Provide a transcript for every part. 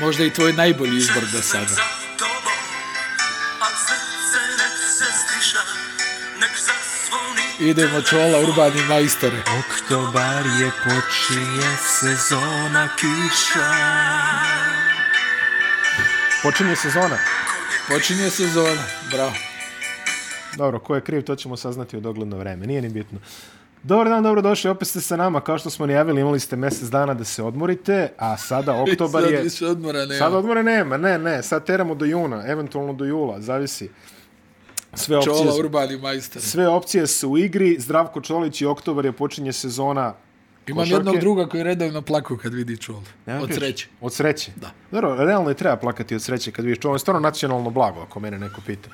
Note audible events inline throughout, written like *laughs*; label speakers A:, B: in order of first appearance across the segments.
A: Možda i tvoj najbolji izbor do sada. Idemo čola, urbani majstor.
B: Oktobar je počinje sezona kiša
C: Počinje sezona.
A: Počinje sezona, bravo.
C: Dobro, ko je kriv, to ćemo saznati u dogledno vreme. Nije ni bitno. Dobar dan, dobrodošli. Opet ste sa nama. Kao što smo najavili, imali ste mjesec dana da se odmorite, a
A: *laughs*
C: sada oktobar
A: Sad
C: je...
A: više odmora nema.
C: Sad odmora nema, ne, ne. Sad teramo do juna, eventualno do jula, zavisi. Sve opcije,
A: Čola, urbani majstor.
C: sve opcije su u igri. Zdravko Čolić i oktobar je počinje sezona
A: Imam
C: košarke.
A: jednog druga koji redovno plaku kad vidi čola.
C: Nema
A: Od
C: priče.
A: sreće.
C: Od sreće?
A: Da.
C: Dobro, realno je treba plakati od sreće kad vidiš čolu. On je stvarno nacionalno blago, ako mene neko
A: *laughs*
C: pita.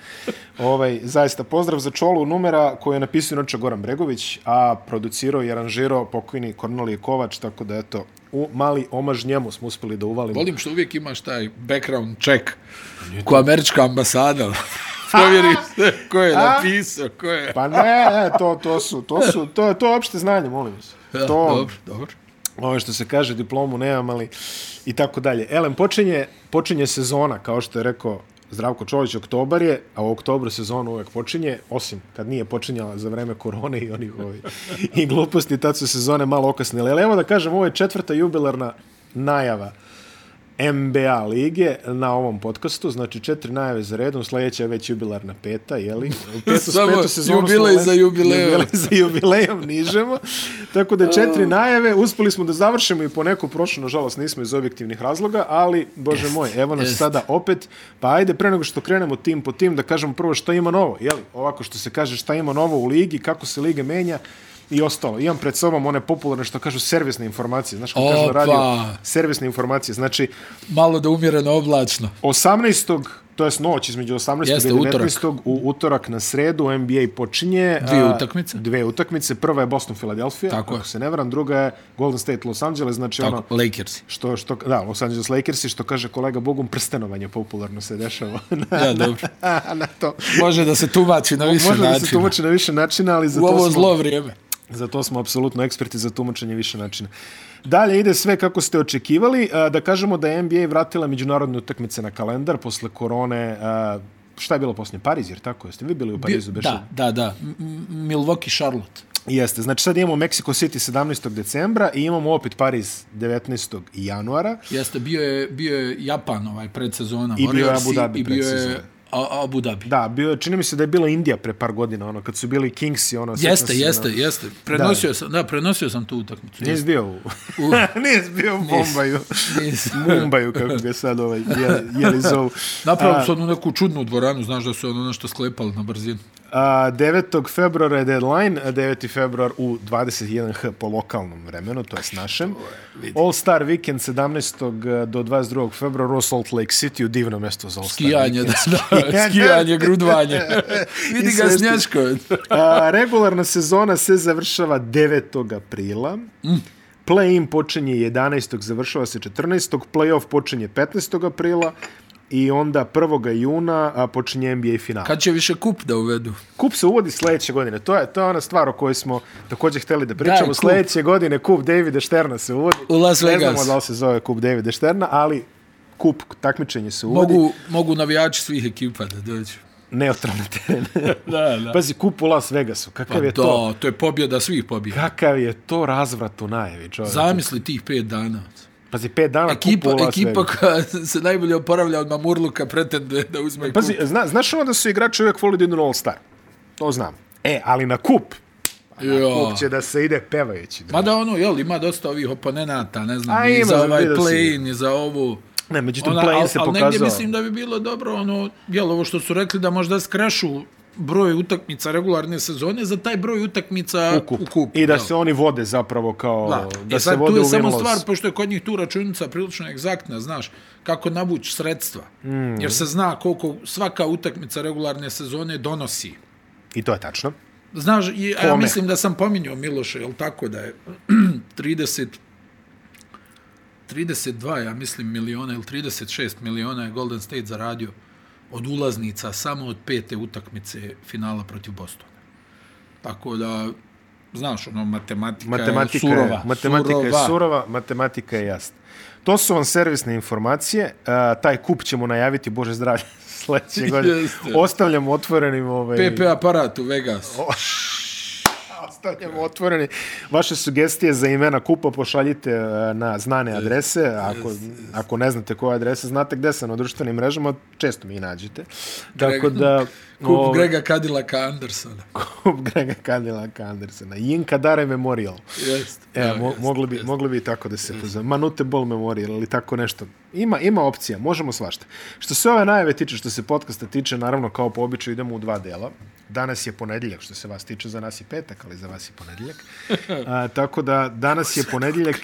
C: ovaj, zaista, pozdrav za čolu numera koju je napisao inače Goran Bregović, a producirao i aranžirao pokojni Kornelije Kovač, tako da eto, u mali omaž njemu smo uspeli da uvalimo.
A: Volim što uvijek imaš taj background check
C: Pa
A: ko američka ambasada. *laughs* Provjeri se ko je
C: A?
A: napisao, ko je...
C: Pa ne, ne, to, to su, to su, to, to je opšte znanje, molim vas.
A: Da,
C: Pa To,
A: Dobro, dobro.
C: ovo što se kaže, diplomu nemam, ali i tako dalje. Elem, počinje, počinje sezona, kao što je rekao Zdravko Čolić, oktobar je, a u oktobru sezona uvek počinje, osim kad nije počinjala za vreme korone i onih ovi, i gluposti, tad su sezone malo okasnile. Ali evo da kažem, ovo je četvrta jubilarna najava NBA lige na ovom podcastu, znači četiri najave za redom, sljedeća je već jubilarna peta, jeli?
A: *laughs*
C: U Petu,
A: Samo
C: petu sezonu smo
A: jubilej
C: le-
A: za jubilejom.
C: Jubilej *laughs* za jubilejom nižemo. Tako da četiri
A: Oh.
C: najave, uspeli smo da završimo i po neko prošlo, nažalost nismo iz objektivnih razloga, ali, bože moj, evo nas
A: jest.
C: sada opet, pa ajde pre nego što krenemo tim po tim da kažemo prvo šta ima novo, jeli? Ovako što se kaže šta ima novo u ligi, kako se liga menja i ostalo. Imam pred sobom one popularne što kažu servisne informacije, znaš kako kažu na
A: Opa.
C: radiju, servisne informacije, znači
A: Malo da umjereno oblačno.
C: 18. to jest noć između 18.
A: Jeste,
C: i
A: utorak.
C: 19. u utorak na sredu NBA počinje.
A: Dvije
C: a,
A: utakmice.
C: Dve utakmice. Prva je Boston Philadelphia,
A: Tako
C: Tako
A: je.
C: ako se ne varam, druga je Golden State Los Angeles, znači Tako. ono
A: Tako, Lakersi.
C: što što da Los Angeles Lakersi što kaže kolega Bogom prstenovanje popularno se dešava na,
A: Ja, dobro.
C: *laughs* na to.
A: Može da se tumači na više
C: Može da se
A: načina.
C: tumači na više načina, ali za
A: U
C: to
A: ovo
C: smo
A: zlo vrijeme.
C: Za to smo apsolutno eksperti za tumačenje više načina. Dalje ide sve kako ste očekivali. A, Da kažemo da je NBA vratila međunarodne utakmice na kalendar posle korone. A, Šta je bilo poslije? Pariz, jer tako jeste? Vi bili u Parizu, beše?
A: Da, da, da. M- M- Milwaukee Charlotte.
C: Jeste. Znači sad imamo Mexico City 17. decembra i imamo opet Pariz 19. januara.
A: Jeste, bio je, bio je Japan ovaj predsezona.
C: I bio je
A: Warriorsi
C: Abu Dhabi
A: I bio je
C: predsezona.
A: A- Abu Dhabi.
C: Da, bio, je- čini mi se da je bila Indija pre par godina, ono, kad su bili Kings i ono... sjećam
A: Jeste,
C: se,
A: jeste,
C: ono-
A: jeste. Prenosio sam, da, prenosio sam tu utakmicu.
C: Nisi bio u...
A: U-
C: *laughs* Nisi bio u
A: *laughs*
C: Bombaju. *laughs*
A: Nis-
C: Mumbaju, kako ga sad ovaj, jeli, jeli zovu.
A: Napravili su onu neku čudnu dvoranu, znaš da su ono nešto sklepali na brzinu.
C: A, 9. februara je deadline, a 9. februar u 21h po lokalnom vremenu, to je s našem. All Star Weekend 17. do 22. februara u Salt Lake City, u divno mjesto za All Star
A: Skijanje, da, da,
C: *laughs* Skijanje.
A: skijanje,
C: *laughs*
A: grudvanje. Vidi ga
C: sve
A: snjačko.
C: A, regularna sezona se završava 9. aprila. Play-in počinje 11. završava se 14. Play-off počinje 15. aprila i onda 1. juna a, počinje NBA final.
A: Kad će više kup da uvedu?
C: Kup se uvodi sljedeće godine. To je, to je ona stvar o kojoj smo također hteli da pričamo.
A: kup.
C: sljedeće godine kup Davida Šterna se uvodi.
A: U Las
C: Ne
A: Vegas.
C: znamo da li se zove kup Davida Šterna, ali kup takmičenje se uvodi.
A: Mogu, mogu navijači svih ekipa da dođu.
C: Neutralni
A: *laughs*
C: teren.
A: Da, da.
C: Pazi, kup u Las Vegasu. Kakav je
A: da,
C: to?
A: to je pobjeda svih pobjeda.
C: Kakav je to razvrat u najavi, čovječe.
A: Zamisli tih pet dana.
C: Pazi, pet dana
A: Ekipa,
C: kup u Las
A: ekipa
C: Vegasu.
A: koja se najbolje oporavlja od Mamurluka pretenduje da uzme
C: Pazi,
A: kup.
C: zna, znaš ono da su igrači uvijek voli da idu na All-Star? To znam. E, ali na kup.
A: Jo.
C: Kup će da se ide pevajući.
A: Mada ono, jel, ima dosta ovih oponenata, ne znam,
C: A
A: i
C: ima,
A: za ovaj
C: vidio si.
A: play-in, i za ovu...
C: Ne, međutim, play-in
A: al-
C: se
A: al negdje
C: pokazao.
A: mislim da bi bilo dobro, ono, jel, ovo što su rekli, da možda skrešu broj utakmica regularne sezone za taj broj utakmica u
C: kup.
A: kup. U kup
C: I da
A: jel.
C: se oni vode zapravo kao...
A: Da,
C: Da,
A: E
C: da se
A: sad, tu
C: vode
A: je
C: u
A: samo
C: win-loss.
A: stvar, pošto je kod njih tu računica prilično egzaktna, znaš, kako navući sredstva. Mm. Jer se zna koliko svaka utakmica regularne sezone donosi.
C: I to je tačno.
A: Znaš, i, a ja
C: Kome?
A: mislim da sam pominjao Miloša, jel tako da je *clears throat* 30 32, ja mislim, miliona ili 36 miliona je Golden State zaradio od ulaznica samo od pete utakmice finala protiv Bostona. Tako da, znaš, ono, matematika,
C: matematika
A: je surova.
C: matematika je surova, matematika je jasna. To su vam servisne informacije. A, taj kup ćemo najaviti, Bože zdravlje, *laughs*
A: *laughs*
C: sledeće godine.
A: Jeste.
C: Ostavljamo otvorenim... Ovaj,
A: PP aparat u Vegasu.
C: Ostavljamo otvoreni. Vaše sugestije za imena kupa pošaljite e, na znane adrese. Ako, ako ne znate koja adresa, znate gde sam na društvenim mrežama, često mi i nađete. Tako da...
A: Kup
C: ovaj,
A: Grega Kadilaka Andersona. *laughs*
C: Kup Grega Kadilaka Andersena. Jinka Dare Memorial.
A: Jeste.
C: E, mo, mogli, bi, mogli bi i tako da se pozove. Manute Ball Memorial ili tako nešto. Ima, ima opcija, možemo svašta. Što se ove najave tiče, što se podcasta tiče, naravno kao po običaju idemo u dva dela. Danas je ponedjeljak, što se vas tiče, za nas je petak, ali za vas je ponedjeljak. A, tako da danas je ponedjeljak,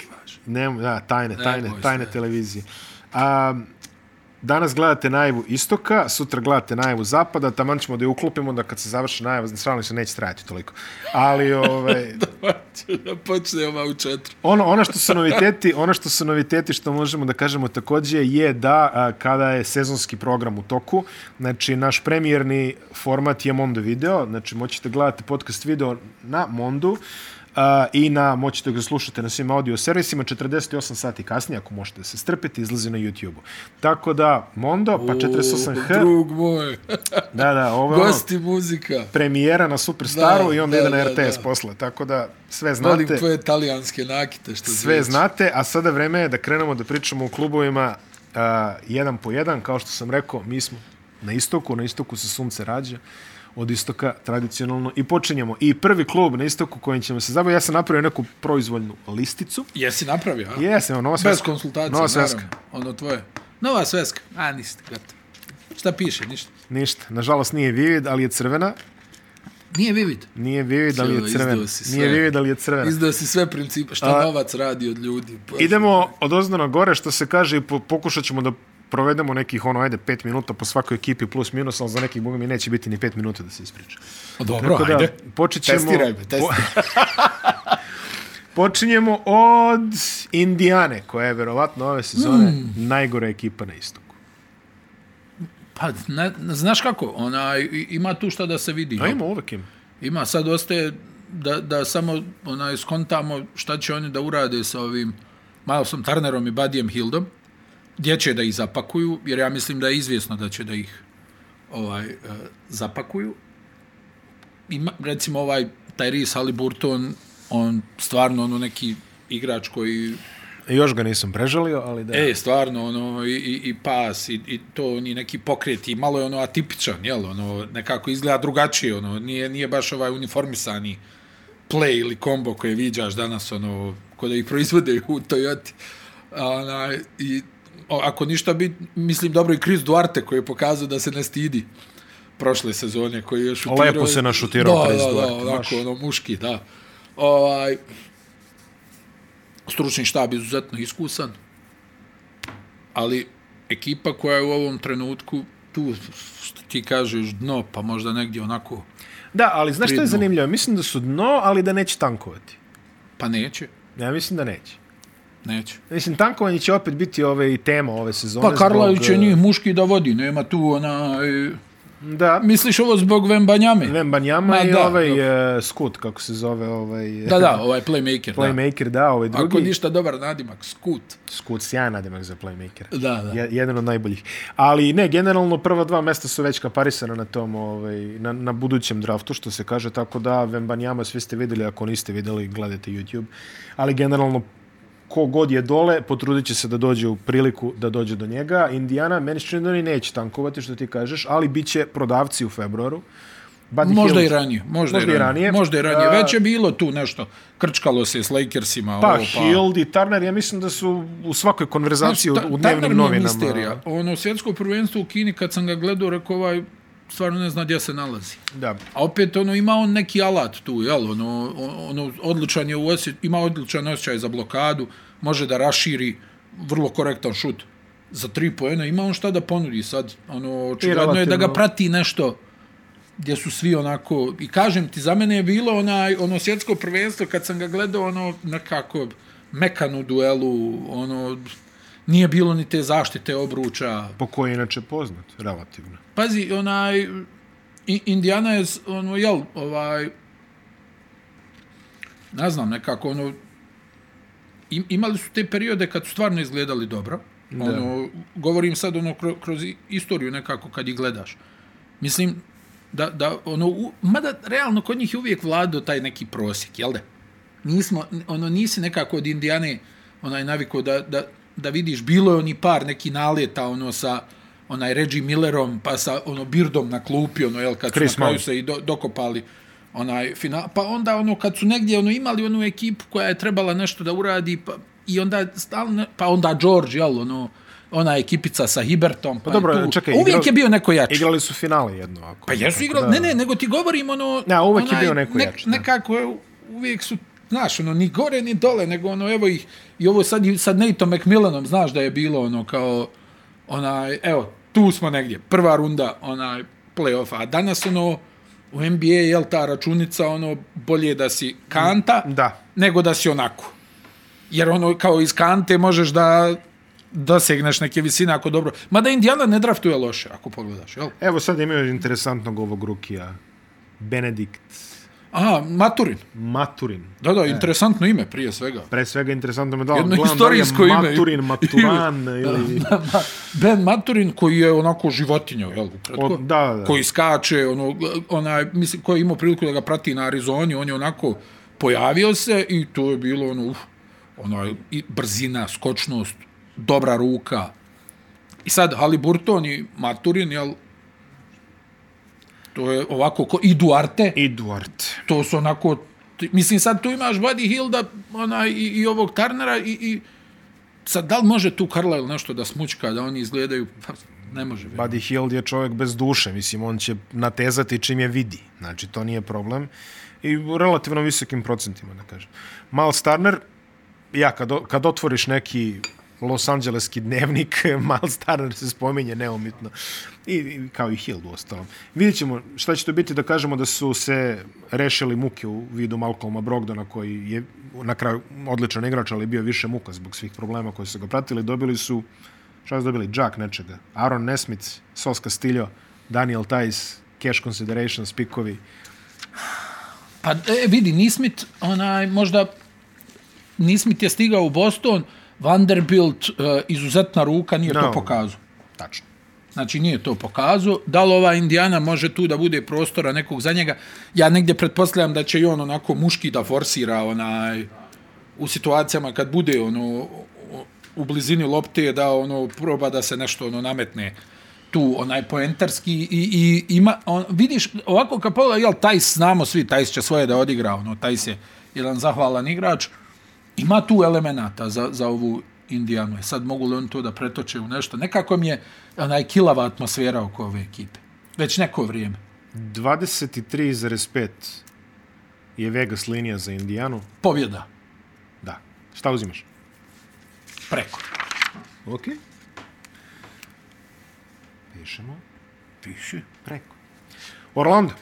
C: nema, da, tajne, tajne,
A: boj se,
C: tajne
A: ne.
C: televizije. A, Danas gledate najavu istoka, sutra gledate najavu zapada, taman ćemo da je uklopimo, da kad se završi najava, stvarno se neće trajati toliko. Ali, ovaj,
A: da počne ova u četiri.
C: Ono, ono što su noviteti, ono što su noviteti što možemo da kažemo takođe je da a, kada je sezonski program u toku, znači naš premijerni format je Mondo video, znači moćete gledati podcast video na Mondu a, i na moćete ga slušati na svim audio servisima 48 sati kasnije ako možete da se strpite, izlazi na YouTube-u. Tako da Mondo pa 48H,
A: Drug moj.
C: da da, ovo je ono,
A: Gosti muzika.
C: premijera na Superstaru
A: Da,
C: i onda
A: da,
C: ide na
A: da,
C: RTS
A: da.
C: posle, tako da sve
A: Volim
C: znate.
A: tvoje talijanske nakite što
C: Sve
A: zvuči.
C: znate, a sada vreme je da krenemo da pričamo o klubovima uh, jedan po jedan. Kao što sam rekao, mi smo na istoku, na istoku se sunce rađa, od istoka tradicionalno i počinjemo. I prvi klub na istoku kojim ćemo se zabaviti, ja sam napravio neku proizvoljnu listicu.
A: Jesi napravio, a?
C: Jes, evo, Nova
A: Bez
C: Svetska.
A: konsultacije,
C: Nova
A: Nova
C: Svetska.
A: naravno. Ono tvoje. Nova sveska. A, niste gotovo. Šta piše, ništa.
C: Ništa. Nažalost nije vivid, ali je crvena.
A: Nije vivid.
C: Nije vivid, ali je
A: Izdao
C: crvena.
A: si sve.
C: Nije vivid, ali je crvena.
A: Izdao si sve principe, šta novac radi od ljudi. Pa,
C: Idemo od ozdo na gore, što se kaže, i po, pokušat ćemo da provedemo nekih, ono, ajde, pet minuta po svakoj ekipi plus minus, ali za nekih, boga mi, neće biti ni pet minuta da se ispriča.
A: pa Dobro,
C: Tako da,
A: ajde.
C: počet ćemo...
A: Testiraj me, testiraj.
C: *laughs* Počinjemo od Indijane, koja je verovatno ove sezone
A: Hmm.
C: najgora ekipa na istoku.
A: Pa, ne, ne, znaš kako, ona, i- ima tu šta da se vidi.
C: A ima uvek ima.
A: Ima, sad ostaje da, da samo onaj, skontamo šta će oni da urade sa ovim Milesom Turnerom i Badijem Hildom, gdje će da ih zapakuju, jer ja mislim da je izvjesno da će da ih ovaj, e, zapakuju. Ima, recimo ovaj Tyrese Haliburton, on stvarno ono neki igrač koji
C: Još ga nisam prežalio, ali da.
A: E, stvarno, ono, i, i, i pas, i, i to, ni neki pokret, i malo je ono atipičan, jel, ono, nekako izgleda drugačije, ono, nije, nije baš ovaj uniformisani play ili kombo koje viđaš danas, ono, ko da ih proizvode u Toyota. A, ona, i, o, ako ništa bi, mislim, dobro i Chris Duarte koji je pokazao da se ne stidi prošle sezone, koji je šutirao...
C: Lepo se našutirao
A: da,
C: Chris
A: da,
C: Duarte,
A: Da,
C: baš.
A: onako, ono, muški, da. Ovaj, stručni štab izuzetno iskusan, ali ekipa koja je u ovom trenutku tu, što ti kažeš, dno, pa možda negdje onako,
C: Da, ali znaš što je
A: Pridno.
C: zanimljivo? Mislim da su dno, ali da neće tankovati.
A: pa neće,
C: Ja mislim da neće.
A: neće.
C: Mislim, tankovanje će opet biti ove i tema ove sezone.
A: Pa Karlajić je
C: zbog, e,
A: njih muški da vodi, nema tu ona... e,
C: Da,
A: Misliš ovo zbog Vembanjame?
C: Vem Banjama
A: Ma
C: i
A: da,
C: ovaj
A: dobro.
C: e, Scoot, kako se zove, ovaj... e,
A: Da, da, ovaj playmaker.
C: *laughs* Playmaker, da, ovaj
A: da. Ako
C: drugi.
A: ništa dobar nadimak, skut.
C: Scoot, sjajan nadimak za playmakera.
A: Da, da.
C: Je- jedan od najboljih. Ali ne, generalno prva dva mesta su već kaparisana na tom, ovaj, na, na budućem draftu, što se kaže, tako da Vembanjama svi ste videli, ako niste videli, gledajte YouTube. Ali generalno, ko god je dole, potrudit će se da dođe u priliku da dođe do njega. Indiana, meni se čini da oni neće tankovati, što ti kažeš, ali bit će prodavci u februaru. Buddy
A: Možda i
C: Hield-
A: ranije, možda,
C: Možda i
A: i
C: ranije.
A: ranije. Možda i ranije.
C: A-
A: Već je bilo tu nešto. Krčkalo se s Lakersima.
C: Pa,
A: ovo,
C: Hield i Turner, ja mislim da su u svakoj konverzaciji
A: Znaš,
C: znači, u, u
A: Ta- Turner
C: dnevnim
A: mi je
C: novinama.
A: Misterija. Ono, svjetsko prvenstvo u Kini, kad sam ga gledao, rekao ovaj, stvarno ne zna gdje se nalazi.
C: Da.
A: A opet, ono, ima on neki alat tu, jel? Ono, ono odličan je u osje, ima odličan osjećaj za blokadu, može da raširi vrlo korektan šut za tri poena. Ima on šta da ponudi sad. Ono, očigledno je da ga
C: relativno-
A: prati nešto gdje su svi onako, i kažem ti, za mene je bilo onaj, ono svjetsko prvenstvo, kad sam ga gledao, ono, nekako mekan u duelu, ono, nije bilo ni te zaštite obruča,
C: Po kojoj je inače poznat, relativno.
A: Pazi, onaj, I- Indiana je, s- ono, jel, ovaj, ne znam, nekako ono, im, imali su te periode kad su stvarno izgledali dobro. Ono, govorim sad ono kroz, kroz i- istoriju nekako kad ih gledaš. Mislim, da, da ono, u, mada realno kod njih je uvijek vladao taj neki prosjek, jel da? Nismo, ono, nisi nekako od Indijane onaj naviko da, da, da vidiš, bilo je oni par neki naleta, ono, sa onaj Reggie Millerom, pa sa ono Birdom na klupi, ono, jel, kad
C: Chris
A: su na kraju
C: Mount.
A: se i do, dokopali onaj final, pa onda ono kad su negdje ono imali onu ekipu koja je trebala nešto da uradi pa, i onda stalno pa onda George jel ono ona ekipica sa Hibertom pa,
C: dobro,
A: je tu,
C: čekaj,
A: uvijek
C: igrali-
A: je bio neko jači
C: Igrali su finale jedno. Ako,
A: pa jesu
C: tako
A: igrali
C: da-
A: ne ne nego ti govorim ono
C: Ne, uvijek je bio neko jači, da.
A: nekako je, uvijek su znaš ono ni gore ni dole nego ono evo ih i ovo sad i- sad Nateom McMillanom znaš da je bilo ono kao onaj evo tu smo negdje prva runda onaj play-offa a danas ono u NBA je ta računica ono bolje da si kanta
C: Da.
A: nego da si onako jer ono kao iz kante možeš da dosegneš neke visine ako dobro mada Indiana ne draftuje loše ako pogledaš jel
C: Evo sad imaju interesantnog ovog rukija. Benedikt
A: A, Maturin.
C: Maturin.
A: Da, da, interesantno ime prije svega.
C: Pre svega interesantno me da
A: Jedno
C: gledam da li je
A: historijsko ime. *laughs*
C: Maturin, Maturan ili...
A: Ben Maturin koji je onako životinja, jel, ukratko?
C: O, da, da.
A: Koji skače, ono, onaj, mislim, koji je imao priliku da ga prati na Arizoni, on je onako pojavio se i to je bilo, ono, uf, onaj, i brzina, skočnost, dobra ruka. I sad Haliburton i Maturin, jel, to je ovako, ko, i Duarte.
C: I Duarte.
A: to su onako ti- mislim sad tu imaš Buddy Hilda onaj, i, i ovog Tarnera i, i sad da li može tu Carlisle nešto da smučka da oni izgledaju pa, ne može vjerujem.
C: Buddy Hield je čovjek bez duše, mislim, on će natezati čim je vidi. Znači, to nije problem. I u relativno visokim procentima, da kažem. Miles Turner, ja, kad, o- kad otvoriš neki Los Angeleski dnevnik, *laughs* Miles Turner se spominje neomitno. I, i kao i Hield u ostalom. Vidjet ćemo šta će to biti da kažemo da su se rešili muke u vidu Malcolma Brogdona koji je na kraju odličan igrač, ali je bio više muka zbog svih problema koji su ga pratili. Dobili su Šta su dobili? Jack nečega. Aaron Nesmith, Sos Castillo, Daniel Tice, Cash Considerations, pikovi.
A: pa e, vidi Nismit onaj možda Nismit je stigao u Boston Vanderbilt e, izuzetna ruka nije no.
C: No.
A: to pokazao
C: Tačno.
A: Znači, nije to pokazao. Da li ova Indiana može tu da bude prostora nekog za njega? Ja negdje pretpostavljam da će i on onako muški da forsira onaj, u situacijama kad bude ono o- u blizini lopte da ono proba da se nešto ono nametne tu onaj poentarski i, i ima on, vidiš ovako kad pola jel taj znamo svi taj će svoje da odigra ono taj je jedan zahvalan igrač ima tu elemenata za, za ovu Indijanu. E Sad mogu li oni to da pretoče u nešto? Nekako mi je onaj kilava atmosfera oko ove ekipe. Već neko vrijeme.
C: 23,5 je Vegas linija za Indijanu.
A: Pobjeda.
C: Da. Šta uzimaš?
A: Preko. *laughs*
C: Ok. Pišemo. Piše. Preko. Orlando.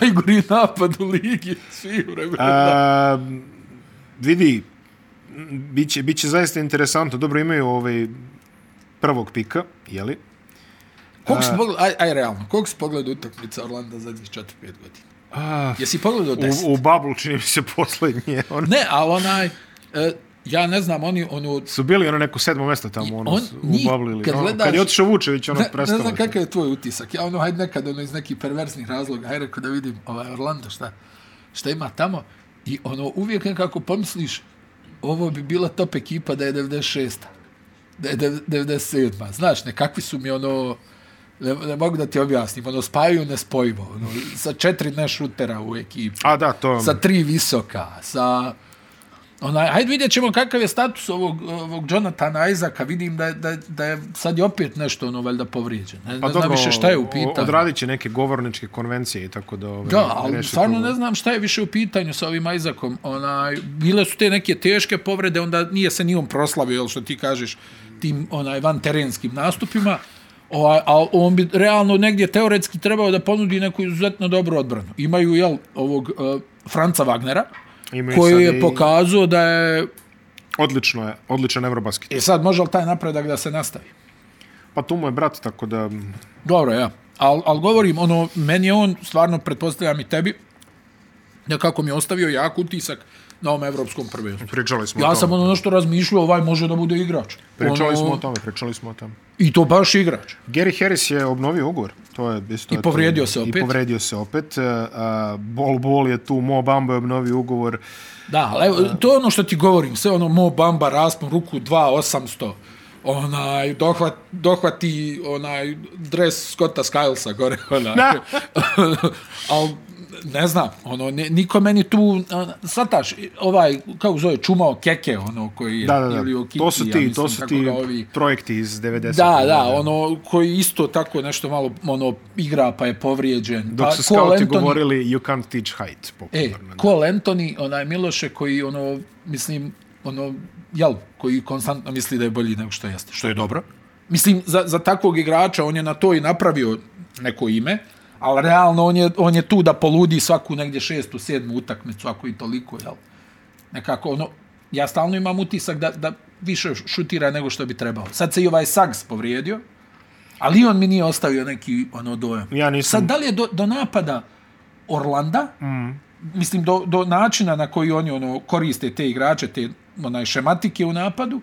A: Najgori napad u ligi. Svi u vremena.
C: A, E, vidi, biće, biće zaista interesantno. Dobro, imaju ovaj prvog pika, jeli?
A: Koliko si pogled, aj, aj realno, koliko si pogled utakmica Orlanda zadnjih 4-5 godina?
C: A,
A: Jesi pogledao 10?
C: Ah. U, u Bubble čini mi se *laughs* poslednje. On,
A: Ne, ali onaj, e, ja ne znam, oni, ono,
C: su bili ono neko sedmo mesto tamo ono,
A: on
C: s- u
A: njih,
C: Bubble ili
A: kad
C: kad, ono,
A: gledaš-
C: kad je otišao Vučević ono
A: ne, ne
C: prestalo.
A: znam
C: je.
A: kakav je tvoj utisak. Ja ono, hajde nekad, ono, iz nekih perverznih razloga, hajde rekao da vidim ovaj Orlando, šta, šta ima tamo. I ono, uvijek nekako pomisliš, ovo bi bila top ekipa da je 96. Da je dev- 97. Znaš, nekakvi su mi ono, ne, ne mogu da ti objasnim, ono, spajaju nespojivo, ono, sa četiri nešutera u ekipi.
C: A da, to
A: sa tri visoka, sa... Onaj, hajde vidjet ćemo kakav je status ovog, ovog Jonathana Isaaca. Vidim da, je- da, je- da je sad je opet nešto ono valjda povrijeđen. Ne,
C: Pa
A: ne znam više šta je u
C: o-
A: pitanju.
C: Odradit će neke govorničke konvencije i tako da... Ovaj,
A: Da, ali
C: reše
A: stvarno
C: problem.
A: ne znam šta je više u pitanju sa ovim Isaacom. Onaj, bile su te neke teške povrede, onda nije se ni on proslavio, jel što ti kažeš, tim onaj van terenskim nastupima. Ovaj, a on bi realno negdje teoretski trebao da ponudi neku izuzetno dobru odbranu. Imaju, jel, ovog uh, Franca Wagnera,
C: Imaju sad
A: koji je
C: i-
A: pokazao da je...
C: Odlično je, odličan Eurobasket.
A: E sad, može li taj napredak da se nastavi?
C: Pa tu mu je brat, tako da... m,
A: Dobro, ja. Al, al govorim, ono, meni je on, stvarno, pretpostavljam i tebi, nekako mi je ostavio jak utisak na ovom evropskom prvenstvu.
C: Pričali smo o
A: Ja
C: tome.
A: sam ono nešto razmišljao, ovaj može da bude igrač.
C: Pričali
A: ono,
C: smo o tome, pričali smo o tome.
A: I to baš igrač.
C: Gary Harris je obnovio ugovor. To je isto
A: I povrijedio se
C: I
A: opet.
C: povrijedio se opet. E, a, Bol Bol je tu, Mo Bamba je obnovio ugovor.
A: Da, ali evo, to je ono što ti govorim, sve ono Mo Bamba, raspon ruku 2800, onaj, dohvat, dohvati onaj dres Scotta Skylesa gore, *laughs* onaj.
C: Da.
A: Al, ne znam, ono, ne, niko meni tu, a, shvataš, ovaj, kako zove, čumao keke, ono, koji je,
C: Da, da, da.
A: ili Okiti,
C: to su
A: ja
C: ti,
A: mislim,
C: to su
A: kako
C: ti
A: ga ovi,
C: projekti iz 90.
A: Da, da, ono koji isto tako nešto malo ono igra pa je povrijeđen.
C: Dok
A: pa,
C: su
A: Cole
C: skauti
A: Anthony-
C: govorili you can't teach height.
A: E,
C: popularno.
A: Cole Anthony, onaj Miloše koji, ono, mislim, ono, jel, koji konstantno misli da je bolji nego što jeste, što je dobro. Mislim, za, za takvog igrača on je na to i napravio neko ime, ali realno on je, on je tu da poludi svaku negdje šestu, sedmu utakmicu, ako i toliko, jel. Nekako, ono, ja stalno imam utisak da, da više šutira nego što bi trebao. Sad se i ovaj Sags povrijedio, ali i on mi nije ostavio neki ono dojam.
C: Ja nisam-
A: Sad, da li je do, do napada Orlanda, mm. mislim, do, do načina na koji oni ono koriste te igrače, te onaj, šematike u napadu,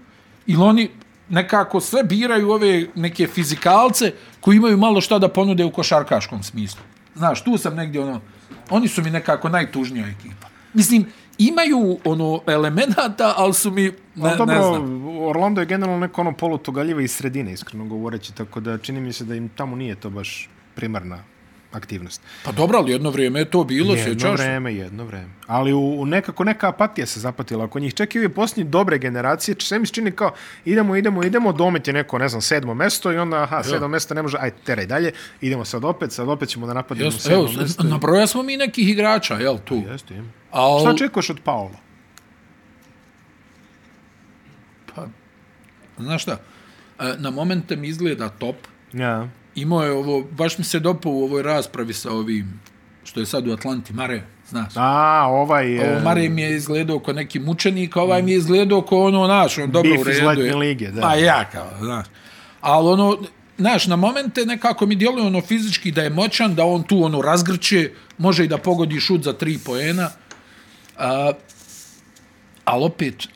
A: ili oni nekako sve biraju ove neke fizikalce koji imaju malo šta da ponude u košarkaškom smislu. Znaš, tu sam negdje ono, oni su mi nekako najtužnija ekipa. Mislim, imaju ono elemenata, ali su mi, ne,
C: Ne, dobro,
A: ne znam.
C: Orlando je generalno neko ono polutogaljivo iz sredine, iskreno govoreći, tako da čini mi se da im tamo nije to baš primarna aktivnost.
A: Pa dobro, ali jedno vrijeme je to bilo,
C: Jedno
A: sjećaš se?
C: vreme, jedno vreme. Ali u, u nekako neka apatija se zapatila oko njih. Čak i ove posljednje dobre generacije, sve mi se čini kao idemo, idemo, idemo, domet je neko, ne znam, sedmo mesto i onda, aha, sedmo mesto ne može, aj, teraj dalje, idemo sad opet, sad opet ćemo da napadimo
A: Jes-
C: sedmo
A: Evo,
C: evo, mesto. Na...
A: nabroja smo mi nekih igrača, jel, tu.
C: Jeste, ima.
A: Al,
C: Šta očekuješ od Paola?
A: Znaš šta, e, na momente mi izgleda top.
C: Ja.
A: Imao je ovo, baš mi se dopao u ovoj raspravi sa ovim, što je sad u Atlanti, Mare, znaš.
C: A, ovaj...
A: Ovo
C: e,
A: Mare mi je izgledao kao neki mučenik, a ovaj mi je izgledao kao ono, znaš, on dobro
C: Beef
A: u
C: iz
A: redu
C: letnje
A: je.
C: lige, da.
A: Pa ja kao, znaš. Ali ono, znaš, na momente nekako mi djeluje ono fizički da je moćan, da on tu ono razgrče, može i da pogodi šut za tri poena. A, ali opet,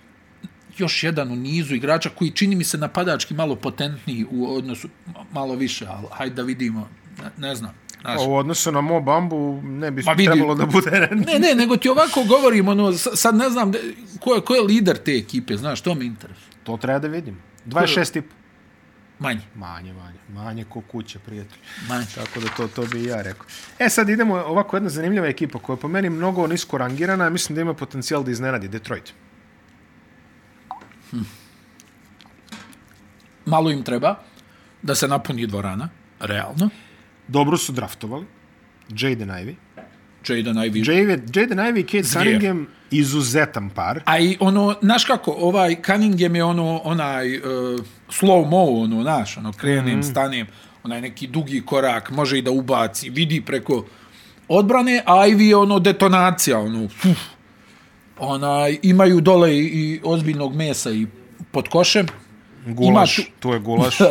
A: još jedan u nizu igrača koji čini mi se napadački malo potentniji u odnosu, malo više, ali hajde da vidimo, ne, ne znam. Znaš,
C: U odnosu na Mo Bambu ne bi
A: Ma vidi-
C: trebalo da
A: *laughs*
C: bude
A: Ne, ne, nego ti ovako govorim, ono, sa- sad ne znam de- ko je, ko je lider te ekipe, znaš, to me interesuje.
C: To treba da vidim. 26 i po.
A: Manje,
C: Manje, manje. Manje ko kuća, prijatelj.
A: manje.
C: Tako da to, to bi i ja rekao. E, sad idemo ovako jedna zanimljiva ekipa koja je po meni mnogo nisko rangirana, a mislim da ima potencijal da iznenadi Detroit.
A: Malo im treba da se napuni dvorana, realno.
C: Dobro su draftovali. Jaden Ivey.
A: Jaden Ivey.
C: Jaden, Jaden Ivey i Kate
A: Zvijer.
C: Cunningham izuzetan par.
A: A i ono, znaš kako, ovaj Cunningham je ono, onaj uh, slow mo, ono, znaš, ono, krenem, mm. stanem, onaj neki dugi korak, može i da ubaci, vidi preko odbrane, a Ivy je ono detonacija, ono, uf, onaj, imaju dole i, i ozbiljnog mesa i pod košem.
C: Gulaš,
A: Ima
C: tu je
A: *laughs*
C: gulaš.
A: tu.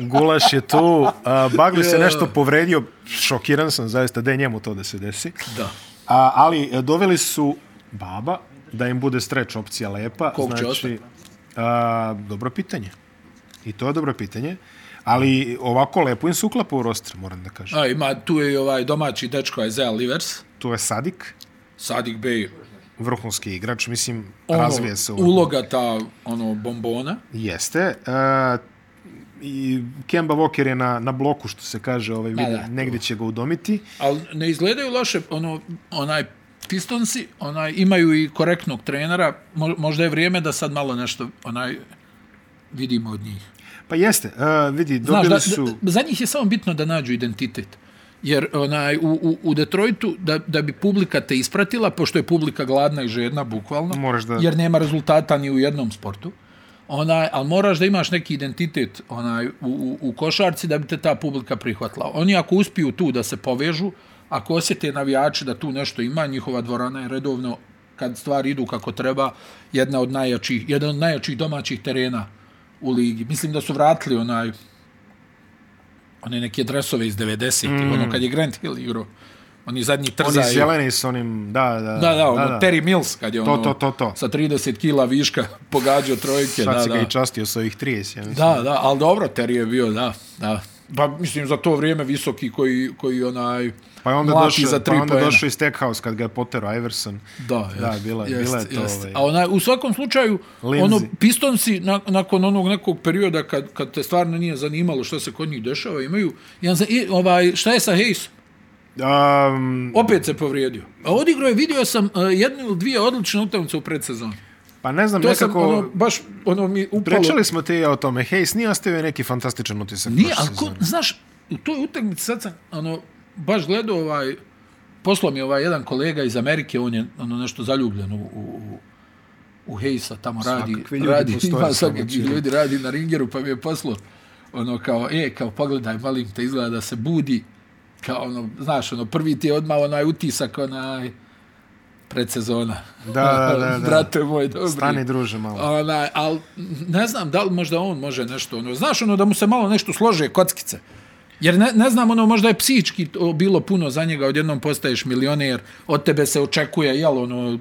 C: Gulaš je tu. A, Bagli se nešto povredio. Šokiran sam zaista da je njemu to da se desi.
A: da.
C: A, ali e, doveli su baba da im bude stretch opcija lepa.
A: Kog će
C: znači,
A: ostati?
C: a, dobro pitanje. I to je dobro pitanje. Ali ovako lepo im se uklapa u roster, moram da kažem.
A: A, ima, tu je i ovaj domaći dečko Isaiah Livers,
C: Tu je Sadik,
A: Sadik Bey,
C: vrhunski igrač, mislim,
A: ono,
C: razvije se. u-
A: uloga ta, ono, bombona.
C: Jeste. A, i Kemba Walker je na, na bloku, što se kaže, ovaj, vidi,
A: da.
C: negdje će ga udomiti.
A: Ali ne izgledaju loše, ono, onaj Pistonsi, onaj, imaju i korektnog trenera, Mo- možda je vrijeme da sad malo nešto, onaj, vidimo od njih.
C: Pa jeste, a, vidi,
A: Znaš,
C: dobili
A: da,
C: su...
A: da, za njih je samo bitno da nađu identitet. Jer onaj, u, u, u Detroitu, da, da bi publika te ispratila, pošto je publika gladna i žedna, bukvalno,
C: Moraš da-
A: jer nema rezultata ni u jednom sportu, onaj, ali moraš da imaš neki identitet onaj, u, u, u košarci da bi te ta publika prihvatila. Oni ako uspiju tu da se povežu, ako osjete navijači da tu nešto ima, njihova dvorana je redovno, kad stvari idu kako treba, jedna od najjačih, jedan od najjačih domaćih terena u ligi. Mislim da su vratili onaj, one neke dresove iz 90-ih, mm. ono kad je Grant Hill igrao Oni zadnji
C: Oni
A: trzaju.
C: zeleni s onim, da, da,
A: Da, da, ono, da, da. Terry Mills, kad je
C: To,
A: ono,
C: to, to, to.
A: sa 30 kila viška *laughs* pogađao trojke.
C: Sad
A: da,
C: se ga
A: da.
C: i častio s ovih 30, ja mislim.
A: Da, da, ali dobro, Terry je bio, da, da. Pa, mislim, za to vrijeme visoki koji, koji onaj...
C: Pa je onda
A: mlati
C: došao,
A: za
C: za
A: tri
C: pa onda
A: poena.
C: došao i Stackhouse kad ga je poterao Iverson.
A: Da,
C: Da,
A: jest,
C: bila-
A: jest,
C: bila je to,
A: jest.
C: ovaj.
A: A onaj, u svakom slučaju,
C: Lindsay.
A: ono, pistonsi na, nakon onog nekog perioda kad, kad te stvarno nije zanimalo šta se kod njih dešava, imaju... Jedan, za- i, ovaj, šta je sa Hayesom?
C: Um,
A: Opet se povrijedio. A odigrao je, vidio sam uh, jednu ili dvije odlične utakmice u predsezoni.
C: pa ne znam,
A: To
C: nekako...
A: sam, ono, baš, ono, mi upalo...
C: Pričali smo ti o tome, Hayes nije ostavio neki fantastičan utisak.
A: Nije,
C: prošle
A: ali ko,
C: sezone.
A: znaš, u toj utakmici sad sam, ono, baš gledao ovaj, poslao mi je ovaj jedan kolega iz Amerike, on je ono nešto zaljubljen u, u, u- u Hejsa, tamo radi,
C: Svakakvi ljudi
A: radi,
C: postoje
A: *laughs* ima
C: samo,
A: svakakvi
C: čini.
A: ljudi, radi na ringeru, pa mi je poslao, ono, kao, e, kao, pogledaj, malim te izgleda da se budi, kao, ono, znaš, ono, prvi ti je odmah onaj utisak, onaj, predsezona. *laughs*
C: Da, da, da, da.
A: Brate moj, dobri.
C: Stani, druže, malo.
A: Ona, Pa al, ne znam da li možda on može nešto, ono, znaš ono da mu se malo nešto slože kockice. Jer ne, ne znam, ono, možda je psihički to bilo puno za njega, odjednom postaješ milioner, od tebe se očekuje, jel, ono,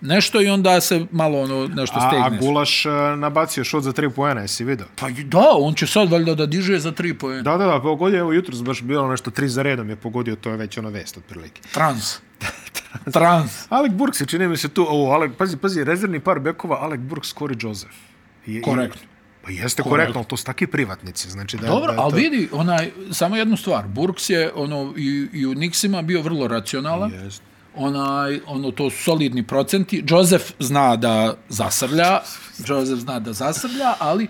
A: nešto i onda se malo, ono, nešto
C: A, a
A: stegneš.
C: Gulaš e, nabacio šut za tri poena, jesi vidio?
A: Pa da, on će sad valjda da diže za tri pojene.
C: Da, da, da, pa pogodio, evo jutros baš bilo nešto tri za redom je pogodio, to je već ona vest otprilike. *laughs*
A: Trans. Trans.
C: Alec Burks je čini mi se tu, o, Alec, pazi, pazi, rezervni par bekova, Alec Burks, Corey Joseph. Je,
A: Korektno.
C: Pa jeste korektno, ali to su taki privatnici, znači da...
A: Dobro,
C: da je to-
A: ali vidi, onaj, samo jednu stvar, Burks je, ono, i, i u Nixima bio vrlo racionalan.
C: Jeste.
A: onaj, ono, to su solidni procenti. Joseph zna da zasrlja, Joseph zna da zasrlja, ali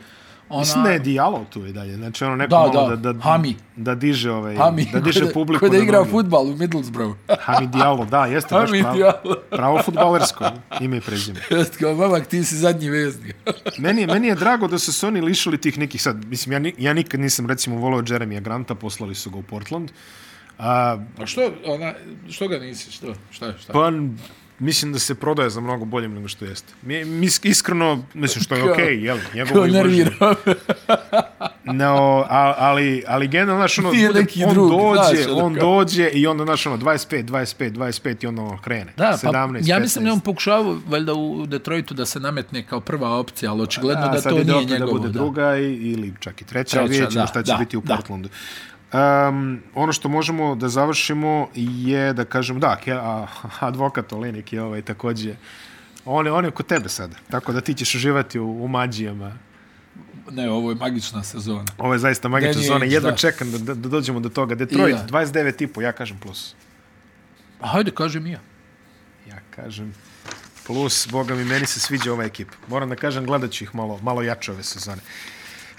C: Mislim da
A: *laughs*
C: je
A: ona...
C: dijalog tu i dalje, znači ono neko
A: Da,
C: malo
A: da,
C: da, da, da,
A: Hami.
C: da diže, ovaj,
A: Hami,
C: da
A: *laughs*
C: diže publiku.
A: Kada igra
C: noge.
A: futbal u Middlesbrough.
C: Hami Diallo, da, jeste baš
A: Hami
C: pravo,
A: Diallo.
C: pravo futbalersko ime i prezime.
A: Jest *laughs* kao, mamak, ti si zadnji veznik. *laughs*
C: Meni, je- meni je drago da su se oni lišili tih nekih sad, mislim, ja, ni, ja nikad nisam recimo volao Jeremija Granta, poslali su ga u Portland. A,
A: A što, ona, što ga nisi, što? Šta je, šta? Pa,
C: pa n- mislim da se prodaje za mnogo boljim nego što jeste. Mi, mis, iskreno, mislim što je
A: Kao-
C: okej, okay, jel, njegovo
A: kao
C: izlaženje. *laughs*
A: nervira.
C: No, a, ali, ali generalno,
A: *laughs*
C: znaš, ono,
A: Nije
C: bude-
A: neki
C: on
A: drug,
C: dođe,
A: znaš, ono
C: on
A: kao-
C: dođe i onda, znaš, ono, 25, 25, 25 i ono krene.
A: Da, pa
C: 17,
A: ja mislim da je
C: 15.
A: on pokušavao valjda u Detroitu da se nametne kao prva opcija, ali očigledno
C: A,
A: da
C: sad
A: to
C: ide
A: nije
C: opet
A: njegovo.
C: Da bude druga i, ili čak i treća,
A: Treća,
C: treća vidjet ćemo
A: da,
C: šta će
A: da,
C: biti u
A: da.
C: Portlandu. Um, ono što možemo da završimo je da kažem, da, ke, a, advokat Olenik je ovaj takođe On je, on je kod tebe sada, tako da ti ćeš uživati u, u mađijama.
A: Ne, ovo je magična sezona.
C: Ovo je zaista magična
A: Danny
C: zona,
A: Ainge,
C: jedva
A: da.
C: čekam da, da, da dođemo do toga. Detroit,
A: I
C: 29,5, ja kažem plus.
A: A hajde, kažem i ja.
C: Ja kažem plus, boga mi, meni se sviđa ova ekipa. Moram da kažem, gledat ću ih malo, malo jače ove sezone.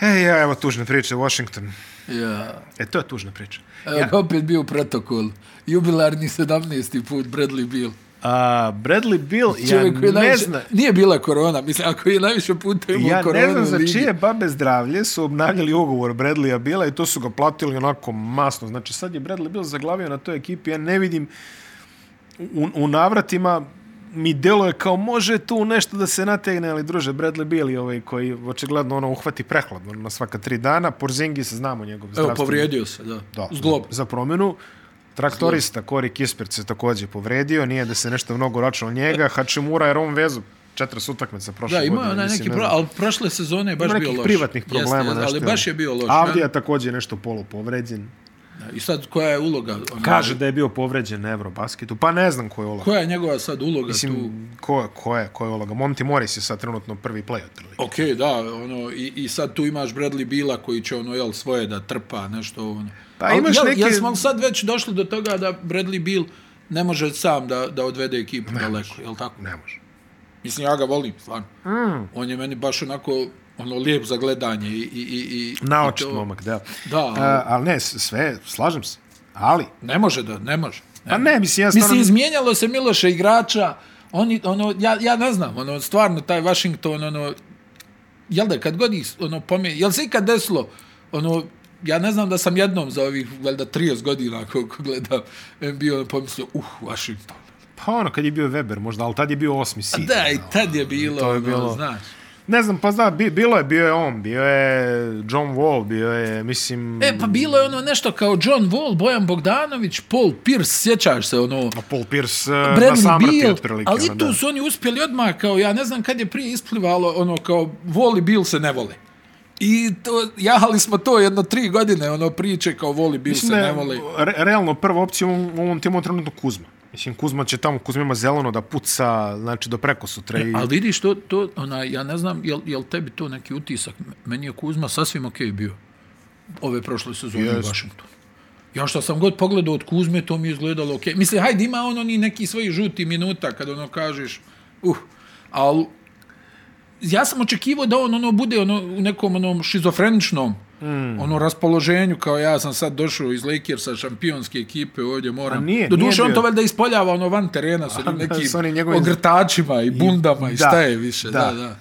C: E, ja, evo tužne priče, Washington.
A: Ja.
C: E, to je tužna priča.
A: Evo pa- ja. opet bio protokol. Jubilarni 17. put Bradley Bill.
C: A, Bradley Bill,
A: Čovjek koji je
C: ja ne
A: najviše-
C: znam...
A: Nije bila korona, mislim, ako je najviše puta imao
C: Ja
A: koronu.
C: ne znam
A: u
C: za
A: ligi.
C: čije babe zdravlje su obnavljali ugovor Bradleya Bila i to su ga platili onako masno. Znači sad je Bradley Bill zaglavio na toj ekipi. Ja ne vidim u, u navratima mi delo je kao može tu nešto da se nategne, ali druže Bradley Bill je ovaj koji očigledno ono uhvati prehladno na svaka tri dana. Porzingis znamo njegov
A: Evo,
C: zdravstveni
A: povrijedio se, da.
C: da,
A: Zglob.
C: za promjenu. Traktorista Kori Kispert se takođe povredio, nije da se nešto mnogo računalo njega. Hačimura jer on vezu 40 utakmica prošle
A: E. Da,
C: godine.
A: imao je onaj
C: mislim,
A: neki
C: ne
A: pro,
C: znam.
A: ali prošle sezone je baš
C: Ima
A: bio
C: nekih
A: loš.
C: privatnih problema.
A: Jeste,
C: znaš
A: ali
C: ti,
A: baš
C: ono.
A: je bio loš.
C: Avdija
A: ne?
C: takođe nešto polupovređen.
A: I sad, koja je uloga? Ona,
C: Kaže da je bio povređen na Eurobasketu, pa ne znam ko je uloga.
A: Koja je njegova sad uloga tu?
C: Mislim, ko, ko, je, ko je uloga? Monty Morris je sad trenutno prvi play otprilike.
A: Ok, da, ono, i, i sad tu imaš Bradley Bila koji će ono, jel, svoje da trpa, nešto ono.
C: Pa
A: Ali,
C: imaš
A: jel,
C: neke-
A: Jel smo sad već došli do toga da Bradley Bill ne može sam da, da odvede ekipu daleko, jel tako?
C: Ne može.
A: Mislim, ja ga volim, stvarno. Mm. On je meni baš onako, ono, lijep za gledanje i... i, i, i
C: Naočit
A: i to-
C: momak, da.
A: Da,
C: A, ali ne, s- sve, slažem se. Ali,
A: ne može da, ne može. Ne.
C: pa ne, mislim, ja stvarno...
A: Mislim, izmijenjalo se Miloše igrača, oni, ono, ja, ja ne znam, ono, stvarno, taj Washington, ono, jel da, kad god ih, ono, pomije, jel se ikad desilo, ono, ja ne znam da sam jednom za ovih, valjda, 30 godina, koliko gledam, NBA, ono, pomislio, uh, Washington.
C: Pa ono, kad je bio Weber možda, ali tad je bio osmi sin.
A: Da, i tad je bilo,
C: To je
A: ono,
C: bilo-
A: znaš.
C: Ne znam, pa zna, bi, bilo je, bio je on, bio je John Wall, bio je, mislim...
A: E, pa bilo je ono nešto kao John Wall, Bojan Bogdanović, Paul Pierce, sjećaš se ono...
C: Paul Pierce eh, na
A: Bradley
C: samrti,
A: Beal,
C: otprilike.
A: ali
C: ono,
A: tu
C: da.
A: su oni uspjeli odmah, kao ja ne znam kad je prije isplivalo, ono kao voli Bill se ne vole. I to, jahali smo to jedno tri godine, ono priče kao voli Bill se
C: Mislim da
A: ne vole.
C: je re, realno prva opcija u ovom, u ovom timu je trenutno Kuzma. Mislim, Kuzma će tamo, Kuzma ima zeleno da puca, znači do preko sutra. I,
A: E, Ali vidiš, to, to, ona, ja ne znam, jel, jel tebi to neki utisak? Meni je Kuzma sasvim okej okay bio ove prošle sezone yes. u
C: Jest.
A: Vašingtonu. Ja što sam god pogledao od Kuzme, to mi je izgledalo okej. Okay. Mislim, hajde, ima ono ni neki svoji žuti minuta kad ono kažeš, uh, ali ja sam očekivao da on ono bude ono, u nekom onom šizofreničnom
C: Hmm.
A: Mm. ono raspoloženju kao ja sam sad došao iz Lakersa šampionske ekipe ovdje moram
C: A nije, nije
A: doduše on
C: bio.
A: to valjda ispoljava ono van terena sa onim
C: *laughs* da,
A: nekim
C: s onim njegovim-
A: ogrtačima i bundama i,
C: da,
A: šta je više da
C: da.
A: da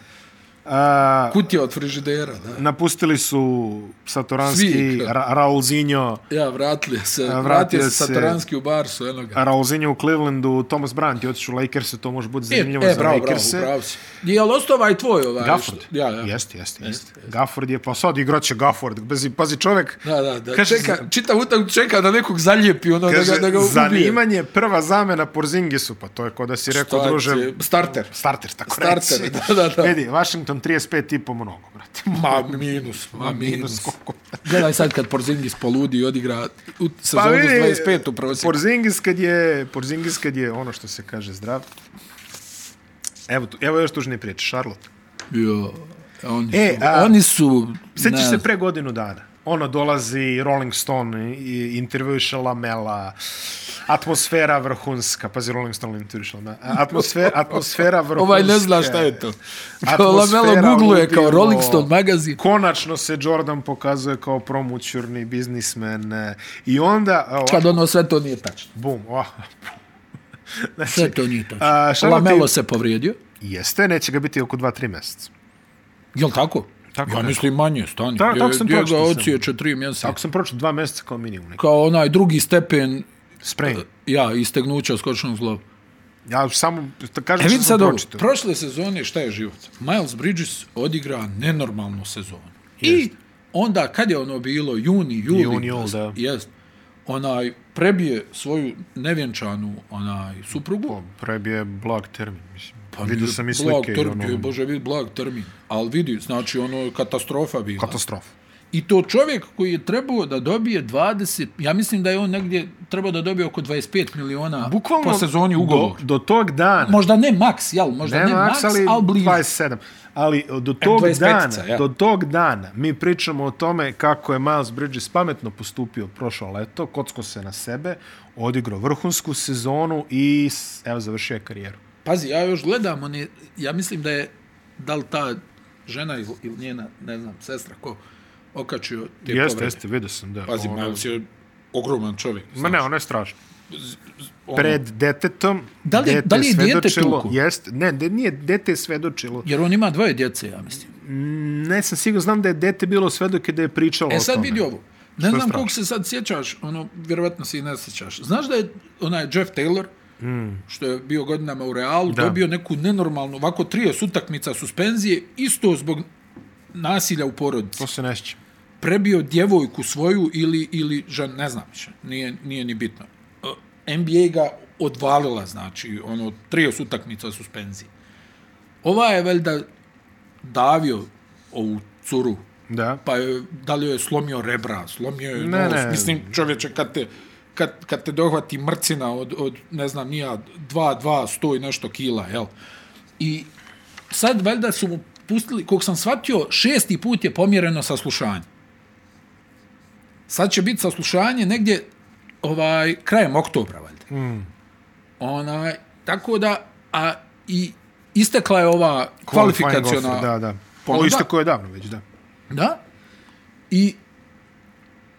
C: a,
A: kutija od frižidera da
C: napustili su
A: Svi,
C: Satoranski,
A: kao.
C: Ra, Raulzinho,
A: ja vratili se
C: vratio
A: vratio, vratio se
C: se-
A: Satoranski u Barsu eno ga
C: Raulzinho u Clevelandu, Thomas Bryant je otišao u Lakers, to može biti
A: E,
C: zanimljivo
A: e,
C: za
A: bravo, bravo,
C: Lakers.
A: bravo si. Je li ostao ovaj tvoj ovaj?
C: Gafford.
A: što- Ja, ja.
C: Jeste, jeste, jeste. Gafford je, pa sad igraće Gafford. Pazi, pazi čovjek,
A: Da, da, da.
C: Kaže,
A: čeka, čita utak čeka da nekog zaljepi, ono,
C: kaže,
A: da ga, da ga ubije.
C: zanimanje prva zamena Porzingisu, pa to je ko da si
A: Šta
C: rekao,
A: ti-
C: druže,
A: Starter.
C: starter, tako
A: Starter,
C: reći.
A: da, da, da.
C: Vidi, Washington 35 i po mnogo, brate.
A: Ma minus, ma minus.
C: Minus koliko.
A: Gledaj sad kad Porzingis poludi i odigra u sezonu pa, 25 u prosjeku.
C: Porzingis kad je, Porzingis kad je ono što se kaže zdrav. Evo, tu, evo još tužnije priče, Charlotte.
A: Jo, oni,
C: E,
A: su,
C: a-
A: oni su...
C: Sjećaš
A: ne
C: se
A: znam.
C: pre godinu dana. Ono dolazi Rolling Stone i intervjuiše Lamela. Atmosfera vrhunska. Pazi, Rolling Stone intervjuiše Lamela.
A: *laughs*
C: Atmosfera, atmosfera vrhunska.
A: Ovaj ne zna šta je to. *laughs* Kao Lamelo googluje kao
C: ludilo.
A: Rolling Stone magazin.
C: Konačno se Jordan pokazuje kao promućurni biznismen. e, I onda... a,
A: Kad ono sve to nije tačno.
C: Bum, oh.
A: Sve to nije tačno.
C: Znači, a, šta
A: Lamelo
C: ti-
A: se povrijedio.
C: Jeste, neće ga biti oko 2-3 meseca.
A: Jel tako?
C: Tako,
A: ja
C: tako.
A: mislim manje, stani.
C: Tak-
A: Gdje-
C: tako sam
A: gdje ga
C: pročitao sam.
A: odsječe tri mjeseca.
C: Ako sam pročio, 2 meseca kao minimum. neki
A: Kao onaj drugi stepen
C: Sprain.
A: ja, istegnuća skočnog zglova.
C: Ja samo da kažem
A: E
C: što
A: vidi
C: sam
A: sad ovo,
C: pročitao.
A: prošle sezone šta je život? Miles Bridges odigra nenormalnu sezonu. I onda, kad je ono bilo, juni, juli,
C: Juni, jul, da.
A: jest, onaj, prebije svoju nevjenčanu onaj, suprugu,
C: Prebije blag termin, mislim. Pa
A: nije
C: Vidio sam i
A: blag
C: slike. i
A: termin, joj,
C: ono,
A: bože, vidi, blag termin. Ali vidi, znači, ono, katastrofa bila.
C: katastrofa.
A: I to čovjek koji je trebao da dobije 20, ja mislim da je on negdje trebao da dobije oko 25 miliona
C: Bukvalno
A: po sezoni ugovor.
C: Do, do tog dana.
A: Možda ne maks, jel? Možda ne, ne maks, ali, ali blizu.
C: 27. Ali do tog
A: 25-ica,
C: dana,
A: E, ja.
C: do tog dana mi pričamo o tome kako je Miles Bridges pametno postupio prošlo leto, kocko se na sebe, odigrao vrhunsku sezonu i s- evo završio je karijeru.
A: Pazi, ja još gledam, on je, ja mislim da je, da li ta žena ili, ili njena, ne znam, sestra, ko okačio te
C: Jeste,
A: povrede.
C: jeste, vidio sam da.
A: Pazi,
C: Ono-
A: Miles je ogroman čovjek.
C: Ma ne, ono je strašno. Pred detetom,
A: ono- Da li- da li je dijete
C: svedočilo-
A: tuku?
C: Jest, ne, de, nije, dete je svedočilo.
A: Jer on ima dvoje djece, ja mislim.
C: Ne sam sigurno, znam da je dete bilo svedoke da je pričalo
A: E
C: o
A: sad
C: tome.
A: vidi ovo. Ne znam
C: strašno?
A: koliko se sad sjećaš, ono, vjerovatno se i ne sjećaš. Znaš da je onaj Jeff Taylor,
C: Hmm.
A: mm. što je bio godinama u Realu, da. dobio neku nenormalnu, ovako 30 utakmica suspenzije, isto zbog nasilja u porodici.
C: To se nešće.
A: prebio djevojku svoju ili, ili žen, ne znam više, nije, nije ni bitno. E, NBA ga odvalila, znači, ono, trios utakmica suspenzije. Ova je veljda davio ovu curu,
C: Da.
A: pa je, da li joj je slomio rebra, slomio je
C: Ne,
A: nos,
C: ne.
A: mislim, čovječe, kad te, kad, kad te dohvati mrcina od, od ne znam, nija, dva, dva, sto i nešto kila, jel? I sad valjda su mu pustili, kog sam shvatio, šesti put je pomjereno saslušanje. Sad će biti saslušanje negdje ovaj, krajem oktobra, valjda. Mm. Ona, tako da, a i istekla je ova kvalifikaciona...
C: Qualifying offer, Da, da.
A: ponuda.
C: Ovo isto koje je davno već, da.
A: Da. I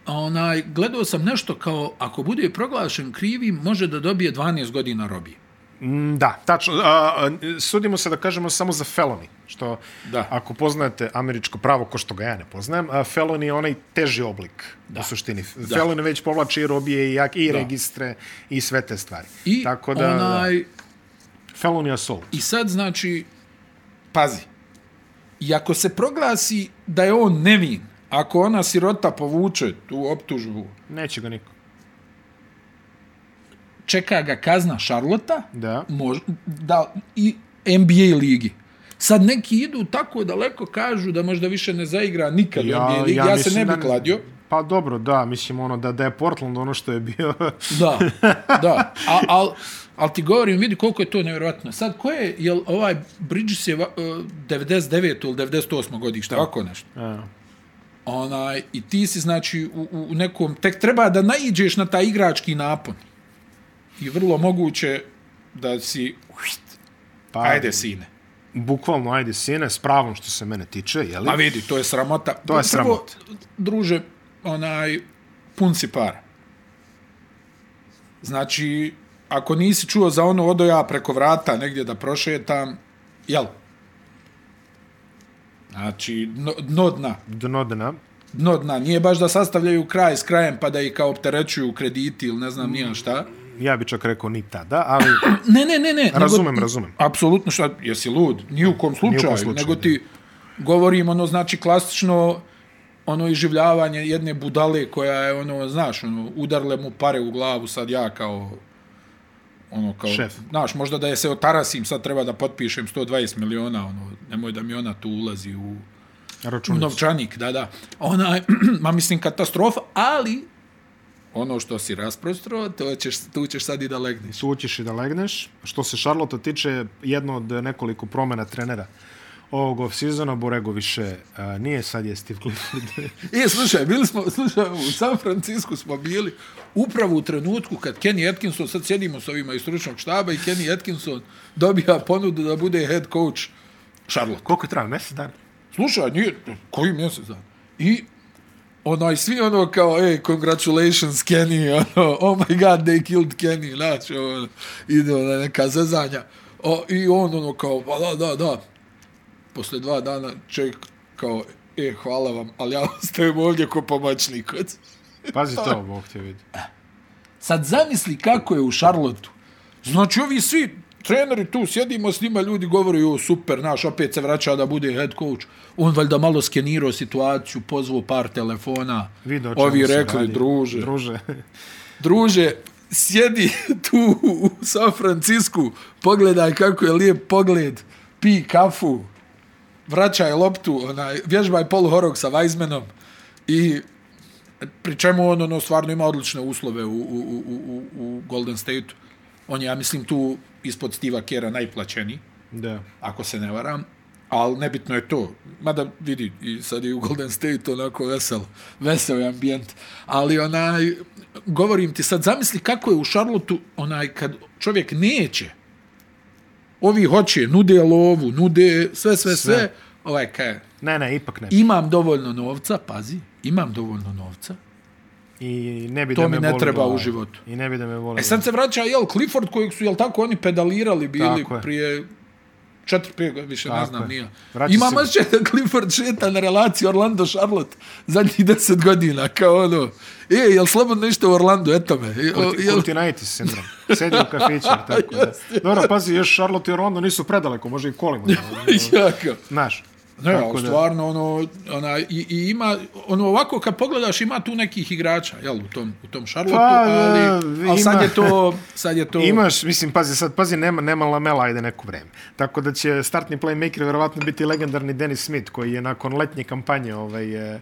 A: onaj, gledao sam nešto kao, ako bude proglašen krivim, može da dobije 12 godina robije.
C: Mm, Da, tačno. A, a, sudimo se da kažemo samo za felony, što
A: Da.
C: da. ako poznajete američko pravo, ko što ga ja ne poznajem, a felony je onaj teži oblik da. u suštini. Da. Felony već povlači i robije i, jak, i registre i sve te stvari.
A: I,
C: Tako da,
A: onaj,
C: felony assault.
A: I sad, znači, pazi, I ako se proglasi da je on nevin, ako ona sirota povuče tu optužbu,
C: Neće ga niko.
A: čeka ga kazna Šarlota,
C: Da.
A: mož, da, i NBA ligi. Sad neki idu tako daleko, kažu da možda više ne zaigra nikad ja, NBA ligi. Ja, ja se
C: mislim
A: ne bi
C: da-
A: kladio.
C: Pa dobro, da, mislim ono da, da je Portland ono što je bio... *laughs*
A: Da, da. A, al, al ti govorim, vidi koliko je to nevjerojatno. Sad, ko je, jel ovaj Bridges je va- e, 99. ili 98. godište, ovako nešto.
C: A,
A: Onaj, I ti si, znači, u, u- u nekom, tek treba da naiđeš na taj igrački napon. I vrlo moguće da si,
C: pa,
A: ajde sine.
C: Bukvalno, ajde sine, s pravom što se mene tiče, jeli?
A: A vidi, to je sramota. To
C: je sramota.
A: druže, onaj, pun si para. Znači, ako nisi čuo za ono, odo ja preko vrata negdje da prošetam, jel? Znači, dno, dno dna.
C: Dno dna.
A: Dno dna. Nije baš da sastavljaju kraj s krajem pa da ih kao opterećuju krediti ili ne znam nijem šta.
C: Ja bi čak rekao ni tada, ali
A: Ne, ne, ne, ne. *clears throat* nego-
C: razumem, razumem.
A: Apsolutno šta, jesi lud, ni u kom slučaju,
C: slučaju,
A: nego
C: da.
A: ti govorim ono znači klasično ono iživljavanje jedne budale koja je ono znaš ono udarle mu pare u glavu sad ja kao ono kao
C: Šef.
A: znaš možda da je se otarasim sad treba da potpišem 120 miliona ono nemoj da mi ona tu ulazi u u
C: Računicu.
A: novčanik da da ona *clears throat* ma mislim katastrofa ali ono što si rasprostro to ćeš tu ćeš sad i da legneš
C: Tu ćeš i da legneš. Što se Charlotte tiče, jedno od nekoliko promjena trenera ovog off-sezona, Borego više a, nije, sad je Steve
A: *laughs*
C: Clifford.
A: E, slušaj, bili smo, slušaj, u San Francisku smo bili upravo u trenutku kad Kenny Atkinson, sad sjedimo s ovima iz stručnog štaba i Kenny Atkinson dobija ponudu da bude head coach Charlotte.
C: Koliko je trajao? Mesec dana?
A: Slušaj, nije, koji mjesec dan? I onaj, svi ono kao, ej, congratulations Kenny, *laughs* ono, oh my god, they killed Kenny, znači, ono, ide ona neka zezanja. O, I on ono kao, pa da, da, da. Posle dva dana čovjek kao, e, hvala vam, ali ja *laughs* ostajem ovdje ko pomoćnik. *laughs*
C: Pazi to, Bog te vidi.
A: Sad zamisli kako je u Šarlotu. Znači, ovi svi treneri tu, sjedimo s njima, ljudi govore, jo, super, naš, opet se vraća da bude head coach. On valjda malo skenirao situaciju, pozvao par telefona.
C: Vidio o čemu
A: ovi
C: se
A: rekli,
C: radi.
A: druže,
C: Druže. *laughs*
A: druže, sjedi *laughs* tu u San Francisku, pogledaj kako je lijep pogled, pi kafu, vraćaj loptu, onaj, vježbaj Paul Horog sa Weizmanom i pri čemu on ono, stvarno ima odlične uslove u, u, u, u, u Golden State-u. On je, ja mislim, tu ispod Steve'a Kera najplaćeniji
C: Da.
A: ako se ne varam, ali nebitno je to. Mada vidi, i sad je u Golden State onako vesel, vesel je ambijent. Ali onaj, govorim ti sad, zamisli kako je u Šarlotu onaj kad čovjek neće. Ovi hoće, nude lovu, nude sve, sve, sve. sve.
C: Sve.
A: Ovaj kaj,
C: Ne, ne, ipak ne.
A: imam dovoljno novca, pazi, imam dovoljno novca.
C: I ne bi
A: To
C: da
A: mi
C: me
A: ne
C: boli
A: treba
C: glava.
A: u životu.
C: I ne bi da me voli.
A: E sad se vraća, jel, Clifford kojeg su, jel tako, oni pedalirali bili
C: Tako je.
A: prije 4-5 godina, više ne
C: Tako
A: znam,
C: je.
A: nije.
C: Vraća
A: Imam
C: se-
A: osjećaj da Clifford šeta na relaciji Orlando-Charlotte zadnjih 10 godina, kao ono, e, jel slobodno nešto u Orlando, eto me. E, o,
C: Kurti-
A: Jel,
C: Kurtinitis Znači, sindrom. Sedi u kafiću,
A: *laughs*
C: tako da. Dobro, pazi, još Charlotte i Orlando nisu predaleko, može i kolima.
A: *laughs* jako.
C: Znaš.
A: Ne,
C: tako
A: ali
C: da-
A: stvarno, ono, ona, i, i ima, ono, ovako, kad pogledaš, ima tu nekih igrača, jel, u tom, u tom Charlotte,
C: Pa,
A: ali,
C: da,
A: ali sad
C: ima-
A: je to, sad je
C: *laughs*
A: to...
C: Imaš, mislim, pazi sad, pazi, nema, nema lamela, ajde neko vreme. Tako da će startni playmaker vjerovatno biti legendarni Dennis Smith, koji je nakon letnje kampanje, ovaj, eh,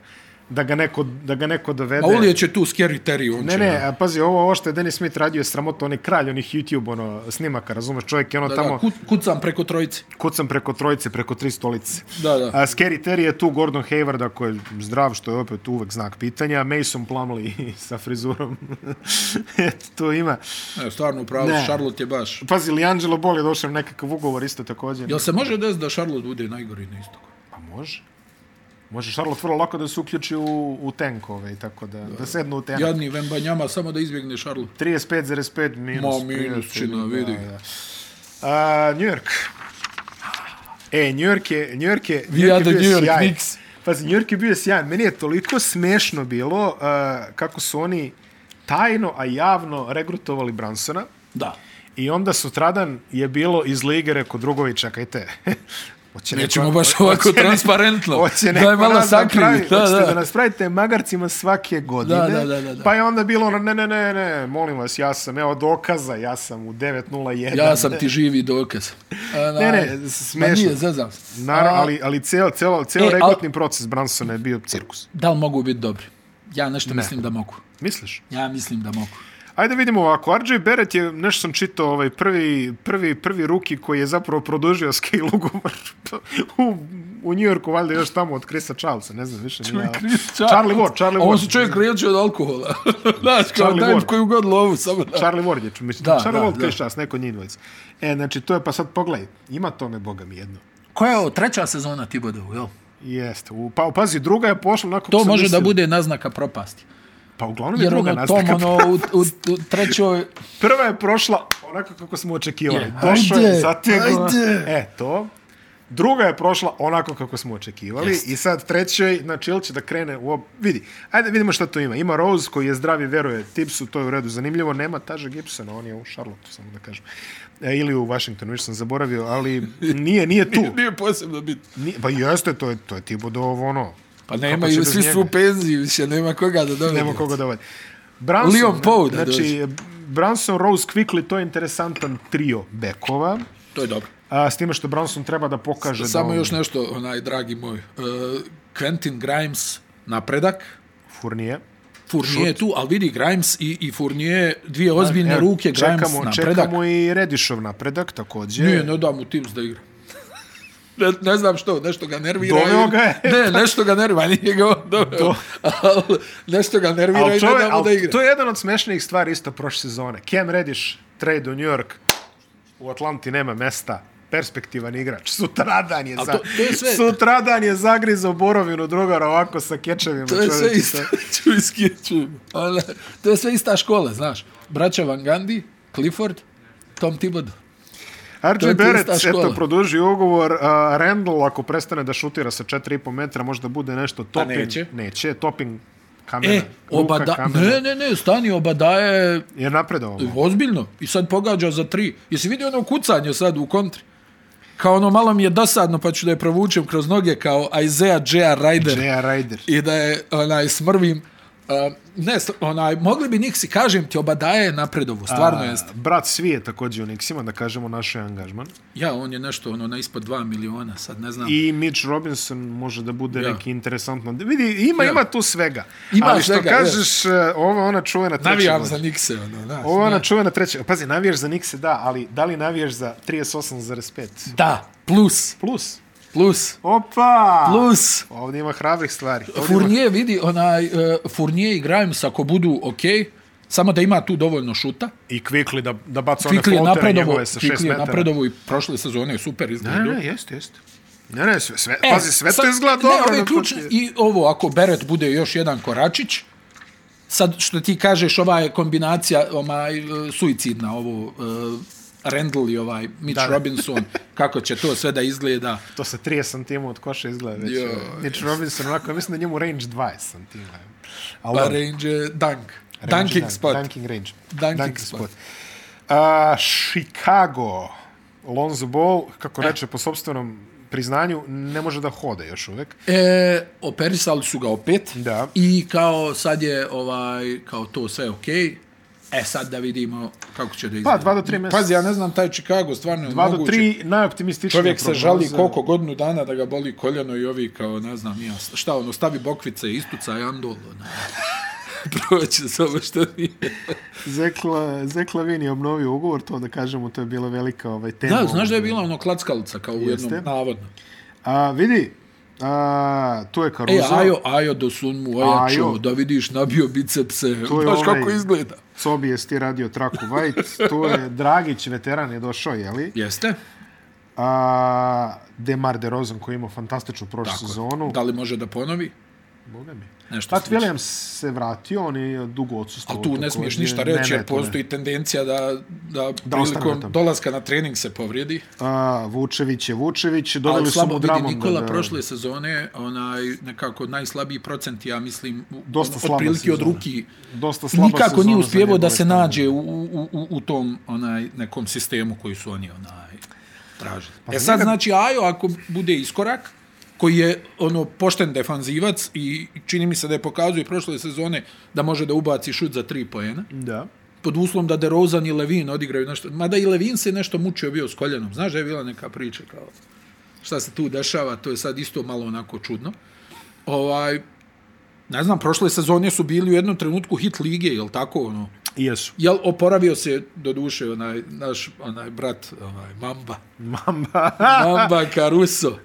C: da ga neko, da ga neko dovede.
A: A Ulije će tu scary Terry, on
C: Ne,
A: će...
C: ne, a pazi, ovo, ovo što je Dennis Smith radio je sramota, on je kralj onih YouTube ono, snimaka, razumeš, čovjek je ono
A: Da,
C: tamo,
A: da,
C: kucam
A: kuc, kucam preko trojice.
C: preko trojice, preko tri stolice.
A: Da, da.
C: A Scary Terry je tu, Gordon Hayward ako je zdrav, što je opet uvek znak pitanja, Mason Plumlee *laughs* sa frizurom, eto, to ima.
A: Ne, stvarno pravo,
C: Ne.
A: Charlotte je baš.
C: Pazi, Liangelo Ball je došao na nekakav ugovor isto također.
A: Jel se može desiti da Charlotte bude najgori na istoku?
C: Pa može. Može Charlotte vrlo lako da se uključi u, u tenkove i tako da, da sednu u tenk.
A: Jadni Vembanjama samo da izbjegne Charlotte.
C: 35,5 minus.
A: Ma, minus
C: 35,
A: čina,
C: da,
A: vidi.
C: da. A, New York. E, New York je, New York je,
A: We are the
C: bio
A: New York
C: sjajan.
A: Knicks.
C: Pazi, New York je bio sjajan. Meni je toliko smešno bilo a, kako su oni tajno, a javno regrutovali Bransona.
A: Da.
C: I onda sutradan je bilo iz lige, reko drugovi, čekajte, *laughs* Hoće
A: Nećemo
C: neko-
A: baš ovako
C: hoće ne-
A: transparentno.
C: *laughs* Hoće
A: Da
C: neko
A: je malo
C: nas da
A: sakriju.
C: pravi-
A: Da,
C: hoćete
A: da.
C: da nas pravite magarcima svake godine.
A: Da, da, da, da, da.
C: Pa je onda bilo ono, ne, ne, ne, ne, molim vas, ja sam, evo dokaza, ja sam u 9.01.
A: Ja sam ti živi dokaz. A,
C: Ne, ne,
A: na-
C: smešno.
A: Ma nije, zezam. se.
C: Naravno,
A: A,
C: ali, ali ceo, ceo, ceo
A: E,
C: e,
A: al-
C: regrutni proces Bransona je bio cirkus.
A: Da li mogu biti dobri? Ja nešto mislim da mogu.
C: Misliš?
A: Ja mislim da mogu.
C: Ajde vidimo ovako, RJ Barrett je, nešto sam čitao, ovaj prvi, prvi, prvi ruki koji je zapravo produžio *laughs* scale ugovor u, u New Yorku, valjda još tamo od Krisa Charlesa, ne znam više.
A: *laughs*
C: ni ja. Charlie Ward, Charlie
A: On
C: Ward.
A: se čovjek liječio od alkohola. *laughs* Znaš, kao
C: Charlie
A: daj mi
C: Ward.
A: koju god lovu, samo da.
C: Charlie Ward je, mislim,
A: Pa, Da,
C: da, Charlie
A: da,
C: Ward
A: da.
C: kaže čas, neko njih dvojica. E, znači, to je, pa sad pogledaj, ima tome, boga mi, jedno.
A: Koja je ovo, treća sezona Tibodovu, jel?
C: Jeste, u, pa pazi, druga je pošla onako kako
A: To
C: sam
A: može
C: mislio.
A: da bude naznaka propasti.
C: Pa uglavnom je
A: Jer
C: druga
A: ono, tom,
C: nastavka.
A: ono, u, u, u trećoj...
C: Prva je prošla onako kako smo očekivali.
A: Je,
C: Došao
A: ajde,
C: je, zategao.
A: ajde.
C: E, to. Druga je prošla onako kako smo očekivali i sad trećoj, znači ili će da krene u ob... Vidi, ajde vidimo šta to ima. Ima Rose koji je zdravi, veruje Tipsu, to je u redu zanimljivo. Nema Taža Gibsona, on je u Charlotte, samo da kažem. E, ili u Washingtonu, više sam zaboravio, ali nije, *laughs* nije tu.
A: Nije posebno biti.
C: Nije, pa jeste, to je, to je Tibodov ono.
A: Pa
C: Kako će
A: nemaju,
C: bez
A: svi su u
C: njega?
A: penziji, više nema koga da dovede.
C: Nema koga dovede. Branson,
A: Leon Poe da
C: znači, Branson, Rose, Quickly, to je interesantan trio bekova.
A: To je dobro.
C: A, s time što Branson treba da pokaže da
A: Samo
C: on
A: još nešto, onaj, dragi moj. Uh, Quentin Grimes, napredak.
C: furnije.
A: Fournier je tu, ali vidi Grimes i, i Fournier, dvije ozbiljne
C: Evo,
A: ruke, Grimes
C: čekamo,
A: napredak.
C: Čekamo i Redišov napredak također.
A: Nije, ne da mu Tips da igra. Ne, ne znam što, nešto ga nervira.
C: Doveo ga je.
A: Ne, nešto ga nervira, *laughs* nije ga on doveo. Ali nešto ga nervira
C: ali
A: i
C: to,
A: ne
C: je,
A: da mu da
C: ali
A: igra.
C: to je jedan od smešnijih stvari isto prošle sezone. Cam Rediš, trade u New York, u Atlanti nema mesta, perspektivan igrač. Sutradan je, za,
A: to- to je sve-
C: sutradan je zagrizao borovinu drugara ovako sa kečevima.
A: To je sve
C: čoveče,
A: ista, *laughs* ću iskjeću. Ona, to je sve ista škola, znaš. Braća Van Gundy, Clifford, Tom Thibodeau. To
C: RJ
A: je ti
C: Barrett,
A: ista škola.
C: eto, produži ugovor. Uh, Randall, ako prestane da šutira sa 4,5 metra, možda bude nešto topping.
A: neće.
C: Neće, topping kamena.
A: E,
C: Luka
A: obada,
C: kamena.
A: ne, ne, ne, stani, obadaje
C: Je napredovao.
A: Ozbiljno. I sad pogađa za tri. Jesi vidio ono kucanje sad u kontri? Kao ono, malo mi je dosadno, pa ću da je provučem kroz noge kao Isaiah J.R. Ryder.
C: J.R. Ryder.
A: I da je, onaj, smrvim. Uh, ne, s- onaj, mogli bi Nixi, kažem ti, obadaje je napredovo, stvarno jeste.
C: Brat Svi je također u Nixima, da kažemo našoj angažman.
A: Ja, on je nešto, ono, na ispod 2 miliona, sad ne znam. I,
C: I Mitch Robinson može da bude
A: Ja.
C: neki interesantno. Vidi, ima,
A: Ja.
C: ima tu svega.
A: Ima
C: Ali što
A: svega,
C: kažeš, uh, ovo je ona čuvena treća
A: Navijam
C: godina.
A: za Nixe, ono, znaš.
C: Ovo je ona
A: ne.
C: čuvena treća. E, Pazi, navijaš za Nixe, da, ali da li navijaš za 38,5?
A: Da, plus,
C: Plus.
A: plus,
C: Opa!
A: plus.
C: Ovdje ima hrabrih stvari.
A: E,
C: Ovdje ima-
A: Fournier vidi, onaj, uh, Fournier i Grimes ako budu okej, okay, samo da ima tu dovoljno šuta,
C: I Quickly da, da baca one
A: Kvikli je
C: flotere
A: napredovo,
C: njegove sa 6
A: Kvikli je
C: metara.
A: napredovo i prošle sezone je super
C: Ne,
A: izgledao. E,
C: ne, jeste, jeste. Ne, ne, sve, sve, pazi, sve to izgleda
A: Ne,
C: dobro.
A: ovo je
C: na
A: ključno.
C: papiru.
A: I ovo, ako Beret bude još jedan koračić, sad što ti kažeš, ova je kombinacija ovaj, e, suicidna, ovo uh, Randall i ovaj Mitch
C: Da, da.
A: Robinson, kako će to sve da izgleda.
C: To sa 30 santima od koša izgleda već. e,
A: Jo,
C: Mitch Robinson, onako, mislim da njemu range 20 santima. Ali
A: Pa
C: dobro,
A: range je dunk.
C: range
A: Dunking
C: dan-
A: spot.
C: Dunking range.
A: Dunking spot.
C: A, Chicago. Lonzo Ball, kako
A: E.
C: reče po sobstvenom priznanju, ne može da hode još uvek.
A: E, operisali su ga opet
C: Da.
A: i kao sad je ovaj kao to sve okej. Okay. E sad da vidimo kako će da izgleda.
C: Pa, dva do tri mjeseca.
A: Pazi, ja ne znam taj Chicago, stvarno je
C: 2 do
A: moguće.
C: 3, najoptimističnije
A: Čovjek se
C: prognoze.
A: žali koliko godinu dana da ga boli koljeno i ovi kao, ne znam, ja, šta ono, stavi bokvice, istuca i andol, ono. *laughs* Proće samo što nije.
C: Zekla, Zekla Vin je obnovio ugovor, to da kažemo, to je bila velika ovaj, tema.
A: Da, znaš da je
C: bila...
A: bila ono klackalica kao u jednom,
C: Jeste.
A: navodno.
C: A, vidi, a, tu je
A: E,
C: Caruso,
A: ajo, ajo do sunmu, ojačo,
C: Ajo.
A: da vidiš, nabio bicepse,
C: To je ovaj
A: znaš
C: onaj-
A: kako izgleda.
C: Cobi je sti radio traku White, tu je Dragić, veteran je došao, jeli?
A: Jeste?
C: A, Demar DeRozan koji je imao fantastičnu prošlu
A: Tako je.
C: sezonu. Pa
A: Da li može da ponovi?
C: Boga mi.
A: Nešto
C: Pat
A: slično.
C: Williams se vratio, on je dugo odsustuo.
A: Ali tu ne smiješ ništa reći jer postoji tendencija da, da,
C: Da ostane na
A: prilikom
C: tom.
A: dolaska na trening se povrijedi.
C: A, Vučević je Vučević, doveli
A: Ali
C: su
A: slabo
C: mu
A: vidi
C: Dramonda.
A: Nikola
C: da-
A: prošle sezone, onaj nekako najslabiji procent, ja mislim, u-
C: Dosta
A: ono,
C: slaba
A: otprilike od
C: sezona.
A: ruki.
C: Dosta slaba
A: Nikako
C: sezona
A: nije
C: za
A: uspjevao da
C: njegove
A: se
C: standarde.
A: nađe u, u, u, u tom onaj nekom sistemu koji su oni onaj traži.
C: Pa
A: e sad, znači, Ajo, ako bude iskorak, koji je ono pošten defanzivac i čini mi se da je pokazuje prošle sezone da može da ubaci šut za tri poena,
C: Da.
A: pod uslovom da DeRozan i Levin odigraju nešto. Mada i Levin se nešto mučio bio s koljenom. Znaš da je bila neka priča kao šta se tu dešava, to je sad isto malo onako čudno. Ovaj, ne znam, prošle sezone su bili u jednom trenutku hit lige, jel tako ono?
C: Jesu.
A: Jel oporavio se do duše onaj naš onaj brat onaj Mamba.
C: Mamba.
A: Mamba
C: *laughs*
A: Caruso.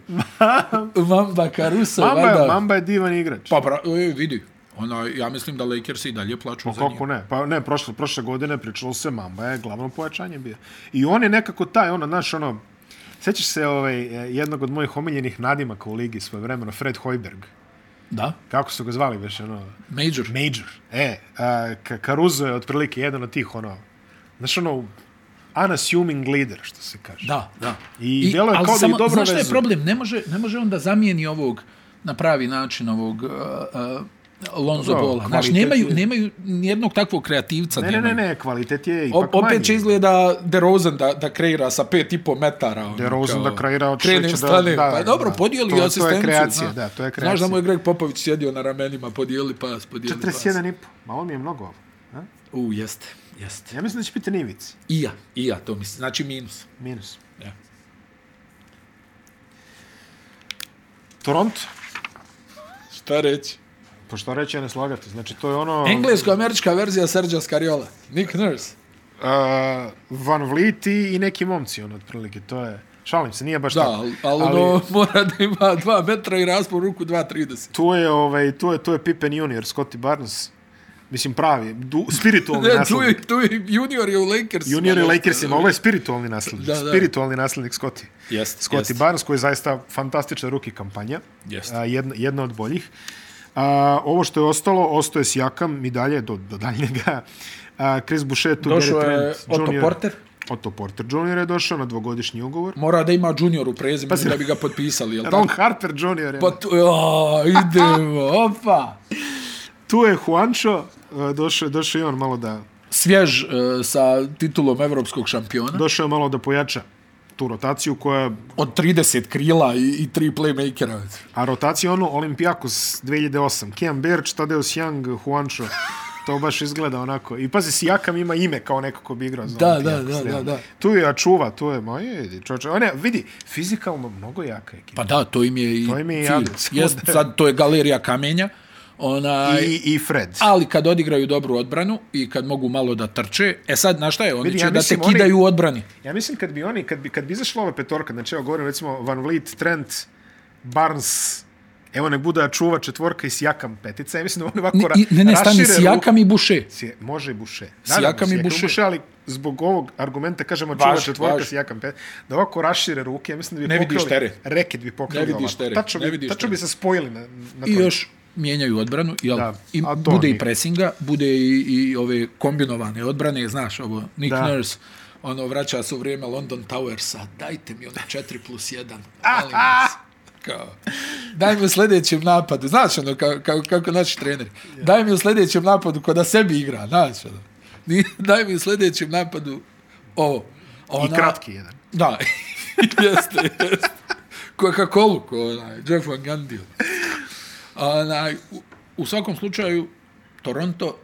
A: Mamba Caruso.
C: Mamba,
A: valjda.
C: je, Mamba je divan igrač.
A: Pa bra, e, vidi. Ona, ja mislim da Lakers i dalje plaču
C: Pa
A: za njim.
C: kako ne? Pa ne, prošle, prošle godine pričalo se Mamba je glavno pojačanje bio. I on je nekako taj, ono, znaš, ono, Sećaš se ovaj, eh, jednog od mojih omiljenih nadimaka u ligi svoje vremeno, Fred Hojberg.
A: Da,
C: Kako su ga zvali već, ono,
A: major.
C: Major. E, a, Ka- Caruso je otprilike jedan od tih, ono, znaš, ono, unassuming leader, što se kaže.
A: Da, da.
C: I djeluje
A: ali
C: kao da ih dobro
A: Znaš šta je
C: vezuje.
A: problem? Ne može, ne može on da zamijeni ovog na pravi način ovog uh, uh, Lonzo
C: Dobro,
A: Bola. Znaš,
C: kvalitet
A: nemaju,
C: je-
A: nemaju nijednog takvog kreativca.
C: Ne, ne, ne,
A: nemaju.
C: ne, kvalitet je
A: O,
C: ipak
A: opet
C: manji.
A: će izgleda DeRozan da, da kreira sa pet i po metara. ono,
C: DeRozan
A: kao,
C: da kreira od
A: krenem
C: šeća da-
A: strane.
C: da,
A: pa dobro,
C: da.
A: podijeli
C: To- to je
A: asistenciju.
C: kreacija,
A: znaš.
C: da, to je
A: Znaš da
C: kreacija.
A: mu je Greg Popović sjedio na ramenima, podijeli pas, podijeli pas.
C: 41 i po. Malo mi je mnogo ovo. a?
A: U, jeste, jeste.
C: Ja mislim da će biti nivici.
A: I ja, i ja, to mislim. Znači minus.
C: Minus.
A: Ja.
C: Toronto.
A: Šta reći?
C: Pa što reći, ja ne slagati. Znači, to je ono...
A: Englesko-američka verzija Serđa Skariola. Nick Nurse.
C: Uh, Van Vliet i, i neki momci, ono, otprilike. To je... Šalim se, nije baš
A: Da,
C: tako.
A: ali, ali, ono, *laughs* mora da ima 2 metra i raspon ruku 2.30.
C: Tu je, ovaj, tu je, tu je Pippen junior, Scotty Barnes. Mislim, pravi, du,
A: *laughs*
C: spiritualni
A: Ne, tu
C: naslednik.
A: je, tu je junior je u Lakers.
C: Junior i Lakersima, ovo je spiritualni naslednik.
A: Da, da.
C: Spiritualni naslednik Scotty.
A: Jest,
C: Scotty
A: jest.
C: Barnes, koji je zaista fantastična ruki kampanja.
A: Jest.
C: A, jedna, jedna od boljih. A, ovo što je ostalo, ostoje s Jakam i dalje, do, do daljnjega. A, Chris Boucher, tu
A: Došao
C: Gary
A: je
C: Trent
A: Otto
C: Jr.
A: Porter.
C: Otto Porter Jr. je došao na dvogodišnji ugovor.
A: Mora da ima junior u prezimenu da bi ga potpisali,
C: *laughs*
A: jel
C: Ron
A: tako?
C: Harper Jr. je
A: Pa tu, o, idemo, opa.
C: Tu je Juancho, a, došao, je- došao je i on malo da
A: Svjež e, sa titulom evropskog šampiona.
C: došao je malo da pojača tu rotaciju koja
A: Od 30 krila i, i tri playmakera.
C: a rotacija ono Olimpijakos 2008 Kian Berč, Tadeusz Young,
A: *laughs*
C: Juancho to baš izgleda onako i pazi si Jakam ima ime kao neko ko bi igrao za
A: Da,
C: Olympiakos,
A: da, da,
C: realno.
A: da, da.
C: tu je Ačuva, tu je ma je, čoče, ne, vidi fizikalno mnogo jaka ekipa
A: Pa da, to im je i
C: To im je
A: cilj.
C: jadno.
A: Jest, sad to je galerija kamenja. Onaj,
C: i, i Fred
A: ali kad odigraju dobru odbranu i kad mogu malo da trče, e sad na šta je, oni
C: Vidi,
A: će
C: ja
A: da
C: mislim,
A: te
C: oni-
A: kidaju u odbrani.
C: ja mislim kad bi oni, kad bi, kad bi izašla ova petorka znači evo govorim recimo Van Vliet, Trent Barnes Evo nek bude Ačuva četvorka i Sijakam petica. Ja mislim da oni ovako
A: Ne,
C: ra-
A: i- ne, ne, stani,
C: rašire ruku.
A: Sijakam i Buše.
C: Sije, može i Buše.
A: Sijakam i Boucher.
C: Buše, ali zbog ovog argumenta kažemo čuva
A: Važi,
C: četvorka
A: važi.
C: Sijakam pet, da ovako rašire ruke, ja mislim da bi
A: Ne vidiš
C: pokrali,
A: teren.
C: reket bi pokrali
A: Ne vidiš teren,
C: Tačno
A: ne
C: bi,
A: vidiš
C: tačno
A: teren.
C: bi se spojili na, na
A: I
C: to.
A: još mijenjaju odbranu, jel?
C: Da,
A: Da, I
C: a to
A: bude
C: oni-
A: i presinga, bude i, i ove kombinovane odbrane, znaš, ovo, Nick
C: Da.
A: da. Nurse, ono, vraća se u vrijeme London Towersa, dajte mi ono 4 plus 1,
C: *laughs*
A: molim vas. Kao, daj mi u sljedećem napadu, znaš ono, ka, ka, kako naši treneri, daj mi u sljedećem napadu ko da sebi igra, znaš ono, Ni- *laughs* daj mi u sljedećem napadu ovo.
C: I
A: Ona,
C: kratki jedan.
A: Da, *laughs* jeste, jeste. Coca-Cola, ko onaj, Jeff Van Gundy. ono. Onaj, u, u svakom slučaju, Toronto,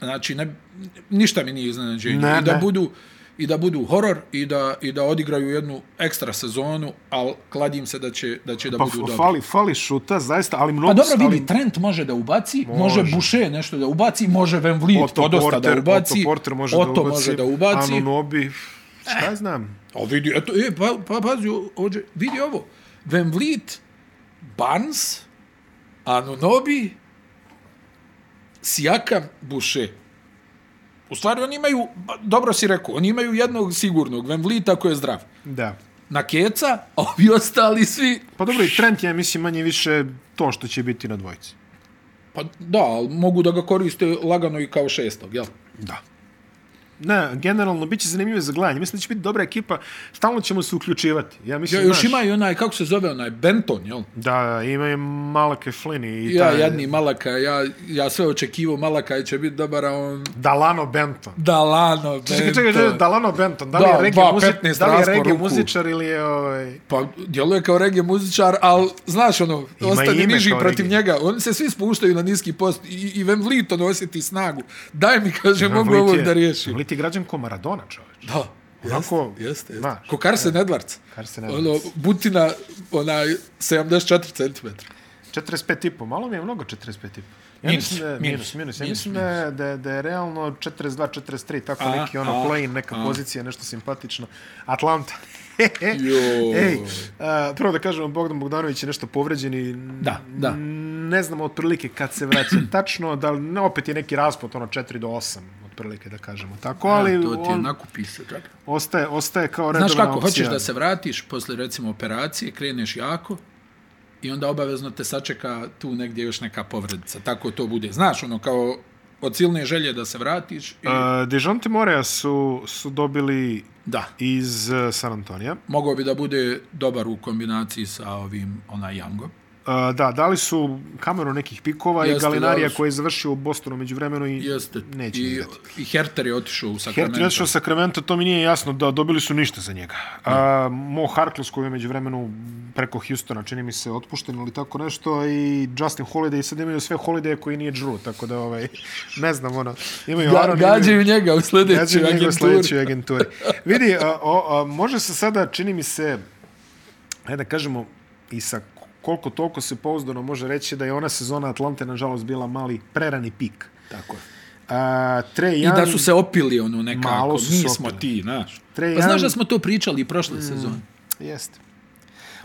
A: znači, ne, ništa mi nije iznenađenje.
C: Ne,
A: I da
C: ne.
A: budu i da budu horor i da, i da odigraju jednu ekstra sezonu, ali kladim se da će da, će da
C: Pa
A: budu
C: f-
A: dobri.
C: fali, fali šuta, zaista, ali mnogo...
A: Pa dobro,
C: ali
A: vidi, Trent može da ubaci, može,
C: Može.
A: može Boucher nešto da ubaci, može Van Vliet
C: Otto
A: podosta
C: Porter,
A: da ubaci,
C: Otto Porter može
A: Otto
C: da ubaci,
A: može da ubaci.
C: Anunobi, šta znam.
A: A vidi, eto, e, pa, pa pazi, o- ođe, vidi ovo. Van Vliet, Barnes, Anunobi, Sijakam, Buše. U stvari, oni imaju, ba, dobro si rekao, oni imaju jednog sigurnog, Van Vlieta koji je zdrav.
C: Da.
A: Na keca, a ovi ostali svi...
C: Pa dobro, i Trent je, mislim, manje više to što će biti na dvojici.
A: Pa da, ali mogu da ga koriste lagano i kao šestog, jel?
C: Da. ne, generalno bit će zanimljivo za gledanje. Mislim da će biti dobra ekipa, stalno ćemo se uključivati. Ja mislim,
A: Ja, još
C: znaš,
A: ima i onaj, kako se zove onaj, Benton, jel?
C: Da, ima i Malake Flynn i
A: Ja,
C: taj
A: jadni Malaka, ja, ja sve očekivao Malaka će biti dobar, a on...
C: Dalano Benton.
A: Dalano, Benton.
C: Čekaj, čekaj, čekaj, Dalano Benton, da li
A: E, Da,
C: je reggae,
A: dva,
C: muzi...
A: 15
C: da li je
A: raspor
C: reggae
A: ruku.
C: muzičar ili je... Ovaj...
A: Pa, djeluje kao reggae muzičar, ali, znaš, ono,
C: Ima
A: ostane
C: ime
A: niži
C: kao
A: protiv
C: reggae.
A: njega. Oni se svi spuštaju na niski post i, i Van Vliet on osjeti snagu. Daj mi, kaže, mogu
C: Vlit
A: ovo
C: je-
A: da riješim.
C: Vlit je građan ko Maradona, čoveč.
A: Da,
C: Onako,
A: jeste, jeste.
C: znaš,
A: Ko Karsen Edwards.
C: Carson Edwards.
A: Ono, butina, onaj, 74 cm.
C: 45 i po, malo mi je mnogo 45 i po. Ja
A: Minus,
C: mislim da,
A: minus,
C: minus, minus, minus. Ja
A: minus,
C: mislim da, je- da, je- da je realno 42, 43, tako
A: A,
C: neki ono
A: a,
C: plane, neka
A: a.
C: pozicija, nešto simpatično. Atlanta. *laughs*
A: Joj.
C: Ej, a, prvo da kažemo, Bogdan Bogdanović je nešto povređen i
A: Da, da.
C: ne znamo otprilike kad se vraća *clears throat* tačno, da li, ne, opet je neki raspot, ono 4 do 8 otprilike da kažemo tako, ali
A: to ti je
C: on
A: nakupi se, čak.
C: ostaje, ostaje kao redovna
A: Znaš kako,
C: opcija.
A: hoćeš da se vratiš posle recimo operacije, kreneš jako i onda obavezno te sačeka tu negdje još neka povredica. Tako to bude. Znaš, ono kao od silne želje da se vratiš i...
C: Uh, Dejonte Morea su, su dobili
A: da.
C: iz uh, San Antonija.
A: Mogao bi da bude dobar u kombinaciji sa ovim, onaj Youngom.
C: Uh, da, dali su kameru nekih pikova Jeste, i
A: Jeste,
C: Galinarija
A: dali su.
C: koji je završio u Bostonu među vremenu i
A: Jeste.
C: neće
A: I,
C: igrati.
A: I Herter je otišao u Sacramento.
C: Hertz je otišao u Sacramento, to mi nije jasno, da dobili su ništa za njega. A, Mo Harkless koji je među vremenu preko Houstona, čini mi se, otpušten ili tako nešto, i Justin Holiday, sad imaju sve Holiday koji nije Drew, tako da, ovaj, *laughs* ne znam, ono, imaju
A: Ga,
C: Aaron, imaju-
A: gađaju njega u sljedećoj
C: Gađaju njega u
A: agenturi.
C: sledećoj agenturi. Vidi, a, o, a, može se sada, čini mi se, ajde da kažemo, i sa koliko toliko se pouzdano može reći da je ona sezona Atlante, nažalost, bila mali prerani pik.
A: Tako je.
C: A, Trey
A: I da
C: Young-
A: su se opili ono nekako.
C: Malo
A: Malo
C: su
A: su
C: se
A: Mi smo
C: opili.
A: ti, znaš.
C: Trae
A: Pa
C: Young-
A: znaš da smo to pričali i prošle mm. sezone.
C: Jeste.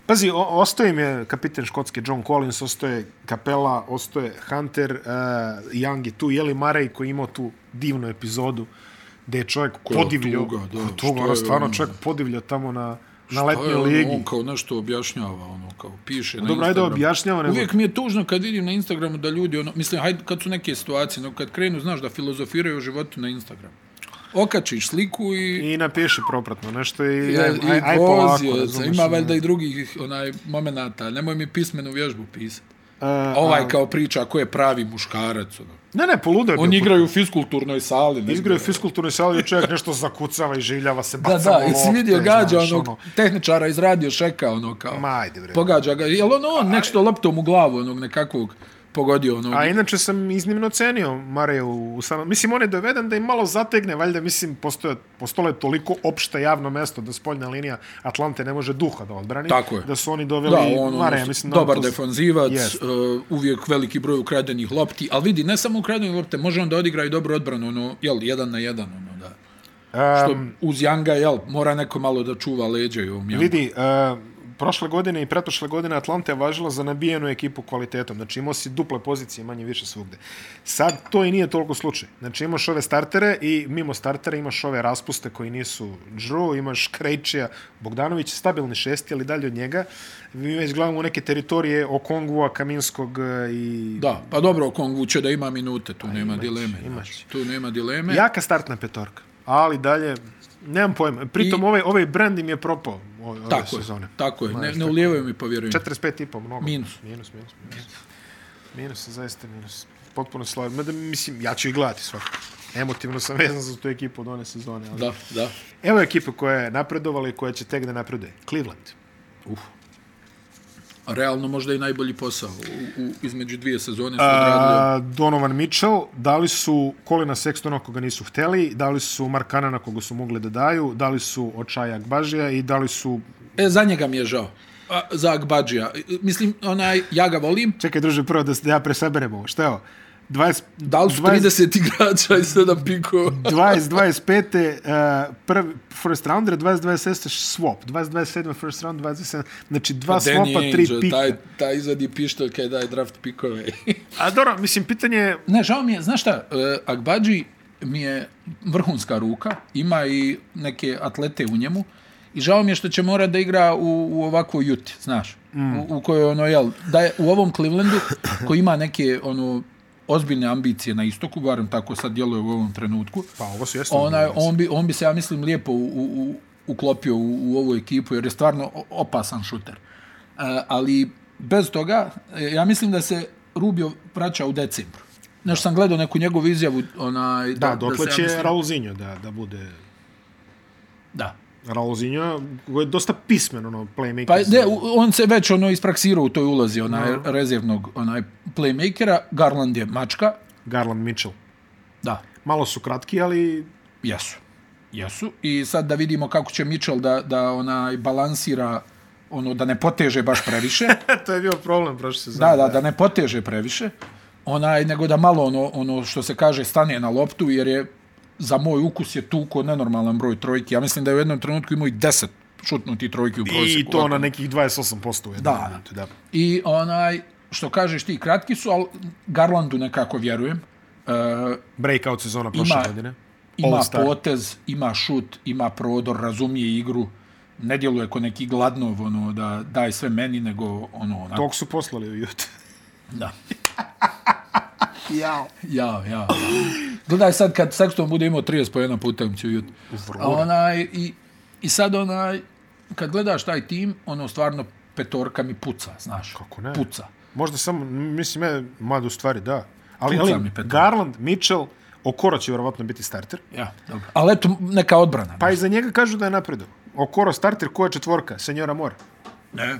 C: Pazi, o, ostao im je kapiten Škotske John Collins, ostoje Kapela, ostoje Hunter, uh, Young je tu, Jeli Marej koji je imao tu divnu epizodu gde je čovjek
A: je
C: podivljao,
A: tuga, da,
C: ko je
A: što
C: tuga, ono
A: je
C: stvarno
A: ono-
C: čovjek podivljao tamo na, na
A: Pa
C: letnjoj
A: je, ono,
C: ligi.
A: On kao nešto objašnjava, ono, kao piše na
C: Dobro, ajde
A: Instagramu.
C: objašnjava, nego-
A: Uvijek mi je tužno kad vidim na Instagramu da ljudi, ono, mislim, hajde, kad su neke situacije, no kad krenu, znaš, da filozofiraju o životu na Instagramu. Okačiš sliku i...
C: I napiše propratno nešto i,
A: Ja,
C: ja,
A: i
C: aj, aj polako,
A: vozio se,
C: razumeš. ono.
A: ima valjda i drugih onaj momenata, nemoj mi pismenu vježbu pisati.
C: E, A,
A: Ovaj kao priča ko je pravi muškarac. Ono.
C: Ne, ne, poludo je
A: On
C: bio.
A: igraju u fiskulturnoj sali. negdje.
C: Izgrao je fiskulturni sal i čovjek nešto zakucava i življava se,
A: Da,
C: baca
A: da,
C: mu
A: i si
C: lopte,
A: vidio gađa
C: znaš, ono.
A: onog tehničara iz radio šeka, ono kao.
C: Ma, ajde, bre.
A: Pogađa ga, jel ono on nešto loptom u glavu onog nekakvog pogodio ono? onog.
C: A inače sam iznimno cenio Mare u, u San... Mislim, on je doveden da im malo zategne, valjda, mislim, postoje, postole toliko opšte javno mesto da spoljna linija Atlante ne može duha da odbrani.
A: Tako je.
C: Da su oni doveli
A: Da, on, ono,
C: Mare, mislim, da on
A: dobar
C: to-
A: defanzivac,
C: Jeste.
A: uh, uvijek veliki broj ukradenih lopti, ali vidi, ne samo ukradenih lopte, može on da odigra i dobro odbranu, ono, jel, jedan na jedan, ono, da. Što uz Janga, jel, mora neko malo da čuva leđa i ovom Jangu.
C: Vidi, uh, prošle godine i pretprošle godine Atlanta je važila za nabijenu ekipu kvalitetom. Znači imao si duple pozicije manje više svugde. Sad to i nije toliko slučaj. Znači imaš ove startere i mimo startera imaš ove raspuste koji nisu Drew, imaš Krejčija, Bogdanović je stabilni šesti, ali dalje od njega. Mi već gledamo neke teritorije Okongua, Kaminskog eh, i...
A: Da, pa dobro, Kongu će da ima minute, tu nema dileme. Imaš. Tu nema dileme.
C: Jaka startna petorka, ali dalje... Nemam pojma. Pritom I...
A: I-
C: ovaj, ovaj brand im je propao o- ove
A: tako je,
C: sezone.
A: tako je, ne,
C: Znaš,
A: ne
C: tako.
A: ulijevaju mi povjerujem.
C: 45 i po, mnogo.
A: Minus.
C: Minus, minus, minus. Minus, zaista minus. Potpuno slavim. Mada, mislim, ja ću i gledati svakako. Emotivno sam vezan za tu ekipu od one sezone. Ali...
A: Da, da.
C: Evo ekipe koja je napredovala i koja će tek da napreduje. Cleveland.
A: Uf. Realno možda i najbolji posao. U, u, između dvije sezone su odradili.
C: A, Donovan Mitchell, dali su Kolina Sextona koga nisu hteli, dali su Markanana koga su mogli da daju, dali su Očaja Gbažija i dali su...
A: E, za njega mi je žao. A, za Agbađija. Mislim, onaj, ja ga volim.
C: Čekaj, druže, prvo da, s- da ja presaberem ovo. Šta je ovo? 20,
A: Da li su 30 igrača i 7 pikova?
C: 20-25. Uh, prvi first rounder, 20-26 swap, 20-27 first round, 27. Znači dva
A: Danny
C: swapa, tri
A: Ainge,
C: pika.
A: Taj, taj izvadi pištoljka i daje draft pikove.
C: A dobro, mislim, pitanje je...
A: ne, žao mi je, znaš šta, e, Agbađi mi je vrhunska ruka, ima i neke atlete u njemu i žao mi je što će mora da igra u, u ovakvoj juti, znaš, mm. u, u kojoj ono, jel, da je u ovom Clevelandu koji ima neke, ono, ozbiljne ambicije na istoku, barem tako sad djeluje u ovom trenutku.
C: Pa ovo su jesu.
A: Ona, on, bi, on bi se, ja mislim, lijepo u, u, u- uklopio u, u ovu ekipu, jer je stvarno o- opasan šuter. E, ali bez toga, e, ja mislim da se Rubio vraća u decembru. Nešto sam gledao neku njegovu izjavu, onaj...
C: Da,
A: se,
C: dokle
A: ja
C: će
A: mislim-
C: Raulzinho da, da bude...
A: Da.
C: Raulzinho koji je dosta pismen, ono, playmaker.
A: Pa ne, u- on se već ono ispraksirao u toj ulozi onaj rezervnog onaj playmakera, Garland je mačka.
C: Garland Mitchell.
A: Da,
C: Malo su kratki, ali
A: jesu. Jesu i sad da vidimo kako će Mitchell da da onaj balansira ono da ne poteže baš previše.
C: *laughs* to je bio problem prošle sezone.
A: da, da, da ne poteže previše. Onaj nego da malo ono ono što se kaže stane na loptu jer je za moj ukus je tuko nenormalan broj trojki. Ja mislim da je u jednom trenutku imao i 10 šutnuti trojki u prosjeku.
C: I to na nekih 28% u jednom
A: Da.
C: minutu, da.
A: I onaj, što kažeš ti, kratki su, ali Garlandu nekako vjerujem. E,
C: Breakout sezona prošle
A: Ima-
C: godine.
A: ima
C: All-star.
A: potez, ima šut, ima prodor, razumije igru. Ne djeluje ko neki gladnov, ono, da daj sve meni, nego ono, onako.
C: Tog su poslali u Utah.
A: Da. jao. Jao, jao. Gledaj sad kad Sexton bude imao 30 po jedna puta će jut. A onaj, i, I sad onaj, kad gledaš taj tim, ono stvarno petorka mi puca, znaš.
C: Kako ne?
A: Puca.
C: Možda samo, mislim, ja, mada u stvari, da. Ali,
A: Puca
C: ali
A: mi petom.
C: Garland, Mitchell, Okoro će vjerovatno biti starter.
A: Ja, dobro. Ali eto, neka odbrana.
C: Pa i za njega kažu da je napredo. Okoro starter, koja četvorka? Senjora Mor.
A: Ne.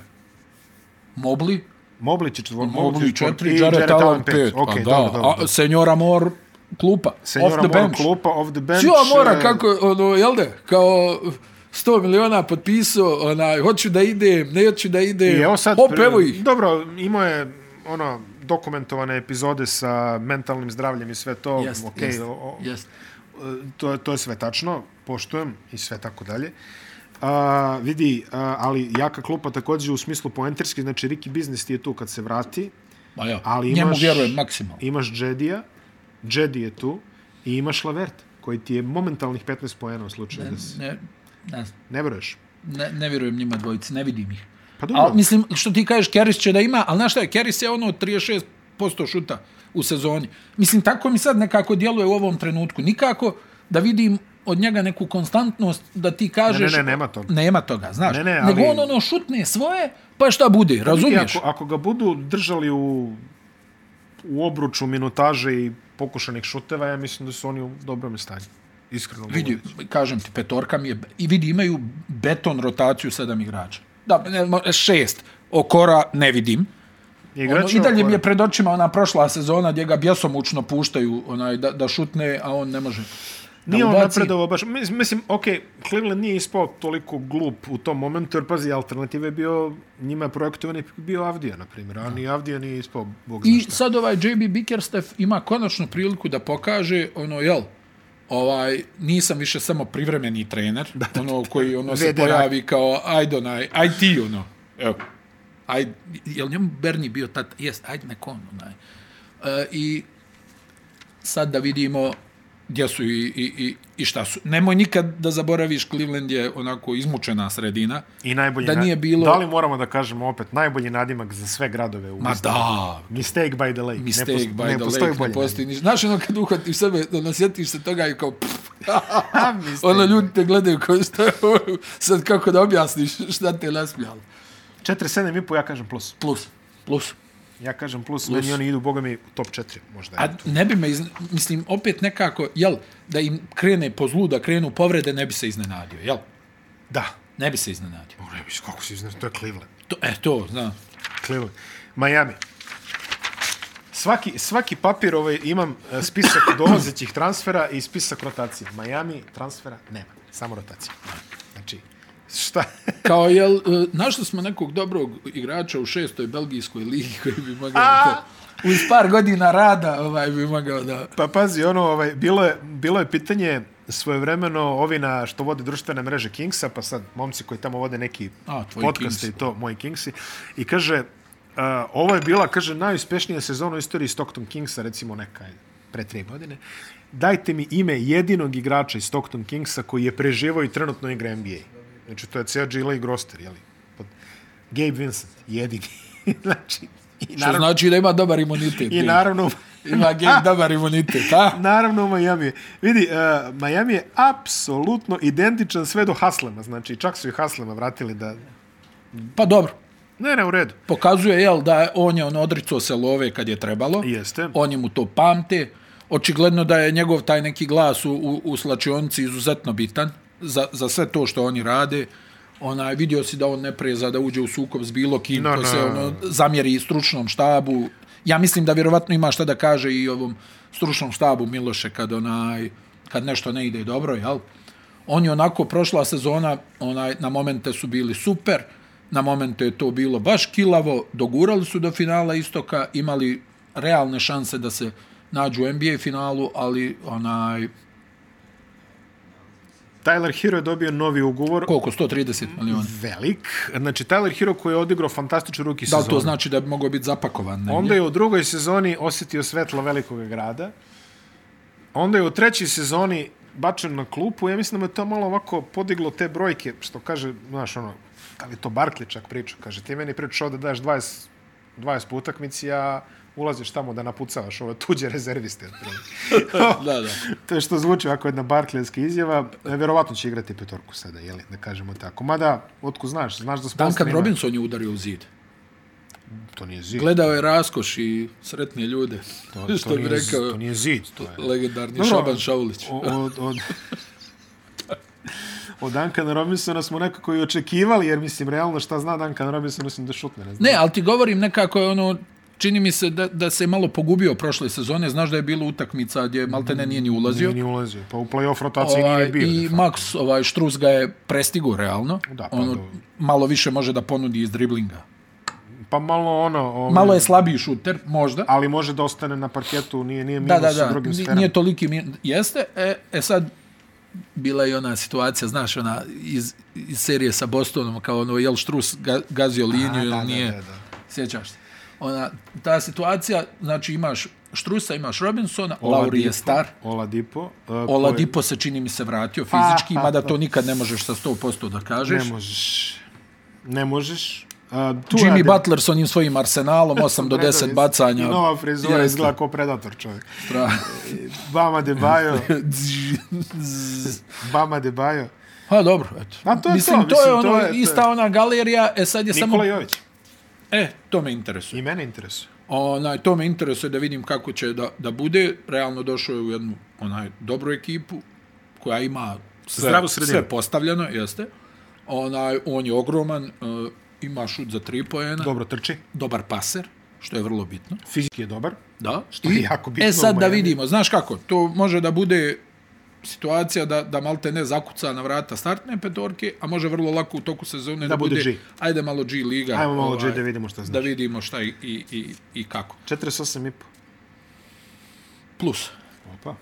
A: Mobli,
C: Moblić je četvor,
A: Mobli
C: Moblić je četvor-
A: 4,
C: i
A: Jared Allen
C: pet.
A: 5.
C: Ok,
A: Okay, Pa da,
C: dobro, dobro.
A: A, senjora Mor, klupa.
C: Senjora
A: off the
C: Mor,
A: bench.
C: klupa, off the bench.
A: Sio Mora,
C: e,
A: kako, ono, jel da, kao 100 miliona potpisao, onaj, hoću da idem, neću da idem.
C: I evo sad,
A: Hop,
C: pre-
A: evo ih.
C: Dobro, imao je ono dokumentovane epizode sa mentalnim zdravljem i sve to.
A: Jest,
C: ok,
A: jest,
C: o- o-
A: jest.
C: to, je- to je sve tačno, poštujem i sve tako dalje. A, vidi, a, ali jaka klupa takođe u smislu poenterski, znači Ricky Business ti je tu kad se vrati,
A: Ma ja,
C: ali
A: njemu
C: imaš,
A: vjerujem maksimalno.
C: imaš Jedija, Jedi je tu i imaš Lavert, koji ti je momentalnih 15 poena u slučaju da se...
A: Ne, ne, znam,
C: Ne veruješ?
A: ne, ne vjerujem njima dvojici, ne vidim ih.
C: Pa
A: A,
C: dobro,
A: mislim, što ti kažeš, Keris će da ima, ali znaš šta je, Keris je ono 36% šuta u sezoni. Mislim, tako mi sad nekako djeluje u ovom trenutku. Nikako da vidim od njega neku konstantnost da ti kažeš...
C: ne, nema toga.
A: Nema toga, znaš.
C: Ne, ne,
A: Nego
C: ali-
A: on ono šutne svoje, pa šta bude, razumiješ?
C: Ako, ako ga budu držali u, u obruču minutaže i pokušanih šuteva, ja mislim da su oni u dobrom stanju. Iskreno.
A: Vidi,
C: govoreći.
A: kažem ti, petorka mi je... I vidi, imaju beton rotaciju sedam igrača. Da, ne, mo- šest. Okora ne vidim. Ono,
C: Igrač
A: I dalje mi je
C: oko-
A: pred očima ona prošla sezona gdje ga bjesomučno puštaju onaj, da, da šutne, a on ne može. Da
C: Nije on
A: ubaci.
C: napredovao baš. Mis- Mislim, ok, Cleveland nije ispao toliko glup u tom momentu, jer pazi, alternativa je bio, njima je projektovan i bio Avdija, na primjer, a ni Avdija nije ispao, bog zna
A: I
C: šta.
A: sad ovaj JB Bickerstaff ima konačnu priliku da pokaže ono, jel, ovaj, nisam više samo privremeni trener, da, da, ono koji ono se
C: Vedera.
A: pojavi kao, ajde onaj, aj ti ono, evo, aj, jel njemu Bernie bio tad, jest, ajde neko on onaj. E, I sad da vidimo gdje su i, i, i, i šta su. Nemoj nikad da zaboraviš, Cleveland je onako izmučena sredina.
C: I najbolji
A: da
C: na-
A: nije bilo-
C: Da li moramo da kažemo opet, najbolji nadimak za sve gradove u
A: Ma
C: Mistake-
A: da,
C: Mistake by the Lake. Ne
A: Mistake
C: pos-
A: by
C: ne
A: the
C: postoji
A: lake,
C: bolji
A: ne postoji ništa. Znaš ono kad uhvatiš sebe, ono, sjetiš se toga i kao, pff,
C: nadimak. Mistake.
A: ono ljudi te gledaju kao što je ovo, sad kako da objasniš šta te nasmijalo.
C: 47,5 ja kažem plus.
A: Plus, plus.
C: Ja kažem plus, plus. meni oni idu, boga mi, u top 4 možda.
A: A ne bi me, izne, mislim, opet nekako, jel, da im krene po zlu, da krenu povrede, ne bi se iznenadio, jel?
C: da.
A: Ne bi se iznenadio.
C: Moram reći, kako si iznaš, to je Cleveland.
A: To, e, to, znam.
C: Cleveland. Miami. Svaki, svaki papir ovaj, imam e, spisak dolazećih transfera i spisak rotacije. Miami transfera nema, samo rotacija. Znači, šta?
A: Kao, jel, e, našli smo nekog dobrog igrača u šestoj belgijskoj ligi koji bi mogao da, uz par godina rada, ovaj, bi mogao da...
C: pa pazi, ono, ovaj, bilo, je, bilo je pitanje svojevremeno ovi na što vode društvene mreže Kingsa, pa sad momci koji tamo vode neki
A: A, tvoji
C: podcaste i
A: Kings.
C: to, moji Kingsi, i kaže, uh, ovo je bila, kaže, najuspješnija sezona u istoriji Stockton Kingsa, recimo neka ajde, pre tri godine. Dajte mi ime jedinog igrača iz Stockton Kingsa koji je preživao i trenutno igra NBA. Znači, to je ceo Gila i Groster, jeli? Pod... Gabe Vincent, jedini. *laughs* znači, i
A: Što
C: naravno,
A: znači da ima dobar imunitet.
C: i
A: je.
C: naravno
A: Ima gen dobar imunitet, a?
C: Naravno u Miami. Vidi, uh, Miami je apsolutno identičan sve do Haslema. Znači, čak su i Haslema vratili da...
A: Pa dobro.
C: Ne, ne, u redu.
A: Pokazuje, jel, da je- on je on odricao se love kad je trebalo.
C: Jeste.
A: Oni mu to pamte. Očigledno da je njegov taj neki glas u, u, u slačionici izuzetno bitan za, za sve to što oni rade. Onaj, vidio si da on ne preza da uđe u sukob s bilo kim,
C: No,
A: no, to
C: no.
A: se ono, zamjeri i stručnom štabu. Ja mislim da vjerovatno ima šta da kaže i ovom stručnom štabu Miloše kad onaj kad nešto ne ide dobro, jel? On je onako prošla sezona, onaj na momente su bili super, na momente je to bilo baš kilavo, dogurali su do finala istoka, imali realne šanse da se nađu u NBA finalu, ali onaj
C: Tyler Hero je dobio novi ugovor.
A: koliko 130 miliona.
C: Velik. Znači, Tyler Hero koji je odigrao fantastičnu ruki
A: Da
C: sezonu.
A: li to znači da bi mogao biti zapakovan? Ne?
C: Onda je u drugoj sezoni osjetio svetlo velikog grada. Onda je u trećoj sezoni bačen na klupu. Ja mislim da me to malo ovako podiglo te brojke, što kaže, znaš, ono, ali to Barkley čak priča. Kaže, ti meni pričaš ovdje da daješ 20, 20 po utakmici, a ulaziš tamo da napucavaš ove tuđe rezerviste.
A: Da, da.
C: to je što zvuči ovako jedna Barkleyska izjava. E, Vjerovatno će igrati petorku sada, jeli, da kažemo tako. Mada, otko znaš, znaš da smo...
A: Duncan Robinson je udario u zid.
C: To nije zid.
A: Gledao je raskoš i sretne ljude.
C: to, to,
A: što bi
C: nije,
A: rekao
C: to nije zid. To je.
A: legendarni
C: Dobro.
A: Šaban Šaulić.
C: O- od, od, od Duncana Robinsona smo nekako i očekivali, jer mislim, realno šta zna Duncan Robinson, osim da šutne, ne znam.
A: Ne, ali ti govorim nekako je ono, čini mi se da, da se malo pogubio prošle sezone. Znaš da je bilo utakmica gdje Maltene nije ni ulazio.
C: Nije ni ulazio. Pa u play-off rotaciji ovaj,
A: Ovaj,
C: nije bio.
A: I
C: I...
A: Max ovaj, Štrus ga je prestigo realno.
C: Da, pa
A: ono,
C: dobro.
A: malo više može da ponudi iz driblinga.
C: Pa malo ono... Ovaj,
A: Malo je slabiji šuter, možda.
C: Ali može da ostane na parketu, nije, nije minus
A: da, da, da.
C: sa drugim
A: Ni-
C: sferama.
A: Nije toliki min... Jeste. E, e sad, bila je ona situacija, znaš, ona iz, iz serije sa Bostonom, kao ono, jel Štrus ga, gazio liniju
C: A,
A: ili
C: da, da,
A: nije.
C: da, da.
A: Sjećaš se. Ona, ta situacija, znači imaš Štrusa, imaš Robinsona,
C: Oladipo-
A: Lauri je star,
C: Oladipo. uh, koji-
A: Oladipo se čini mi se vratio fizički,
C: Pa, pa,
A: mada
C: pa.
A: to nikad ne možeš sa 100% da kažeš.
C: Ne možeš. Ne možeš. Uh, tu
A: Jimmy
C: rade-
A: Butler s onim svojim arsenalom, 8 do
C: Predavi-
A: 10 bacanja.
C: I nova frizura
A: Jeste.
C: izgleda kao predator čovjek. *laughs*
A: Tra-
C: Bama de Bajo.
A: *laughs* Zzz.
C: Bama de Bajo.
A: Pa dobro, eto.
C: A to je
A: mislim,
C: to,
A: to, je
C: mislim,
A: ono,
C: to je- to je-
A: ista ona galerija, e sad je
C: Nikola
A: samo...
C: Jović.
A: E, to me interesuje.
C: I mene interesuje.
A: Onaj, to me interesuje da vidim kako će da, da bude. Realno došao je u jednu onaj, dobru ekipu koja ima sve,
C: Zdravu sredinu.
A: sve postavljeno, jeste. Onaj, on je ogroman, uh, ima šut za tri pojena, Dob
C: Dobro trči.
A: dobar paser, što je vrlo bitno.
C: Fizički je dobar.
A: Da.
C: Što je jako bitno
A: E
C: u
A: sad da
C: Miami.
A: vidimo, znaš kako, to može da bude situacija da, da malte ne zakuca na vrata startne petorke, a može vrlo lako u toku sezone da,
C: bude
A: bude,
C: G.
A: ajde malo G liga. ovaj,
C: Ajmo malo G da vidimo šta
A: Da
C: znači.
A: vidimo šta i, i, i, i kako.
C: 48,5.
A: Plus.
C: Opa.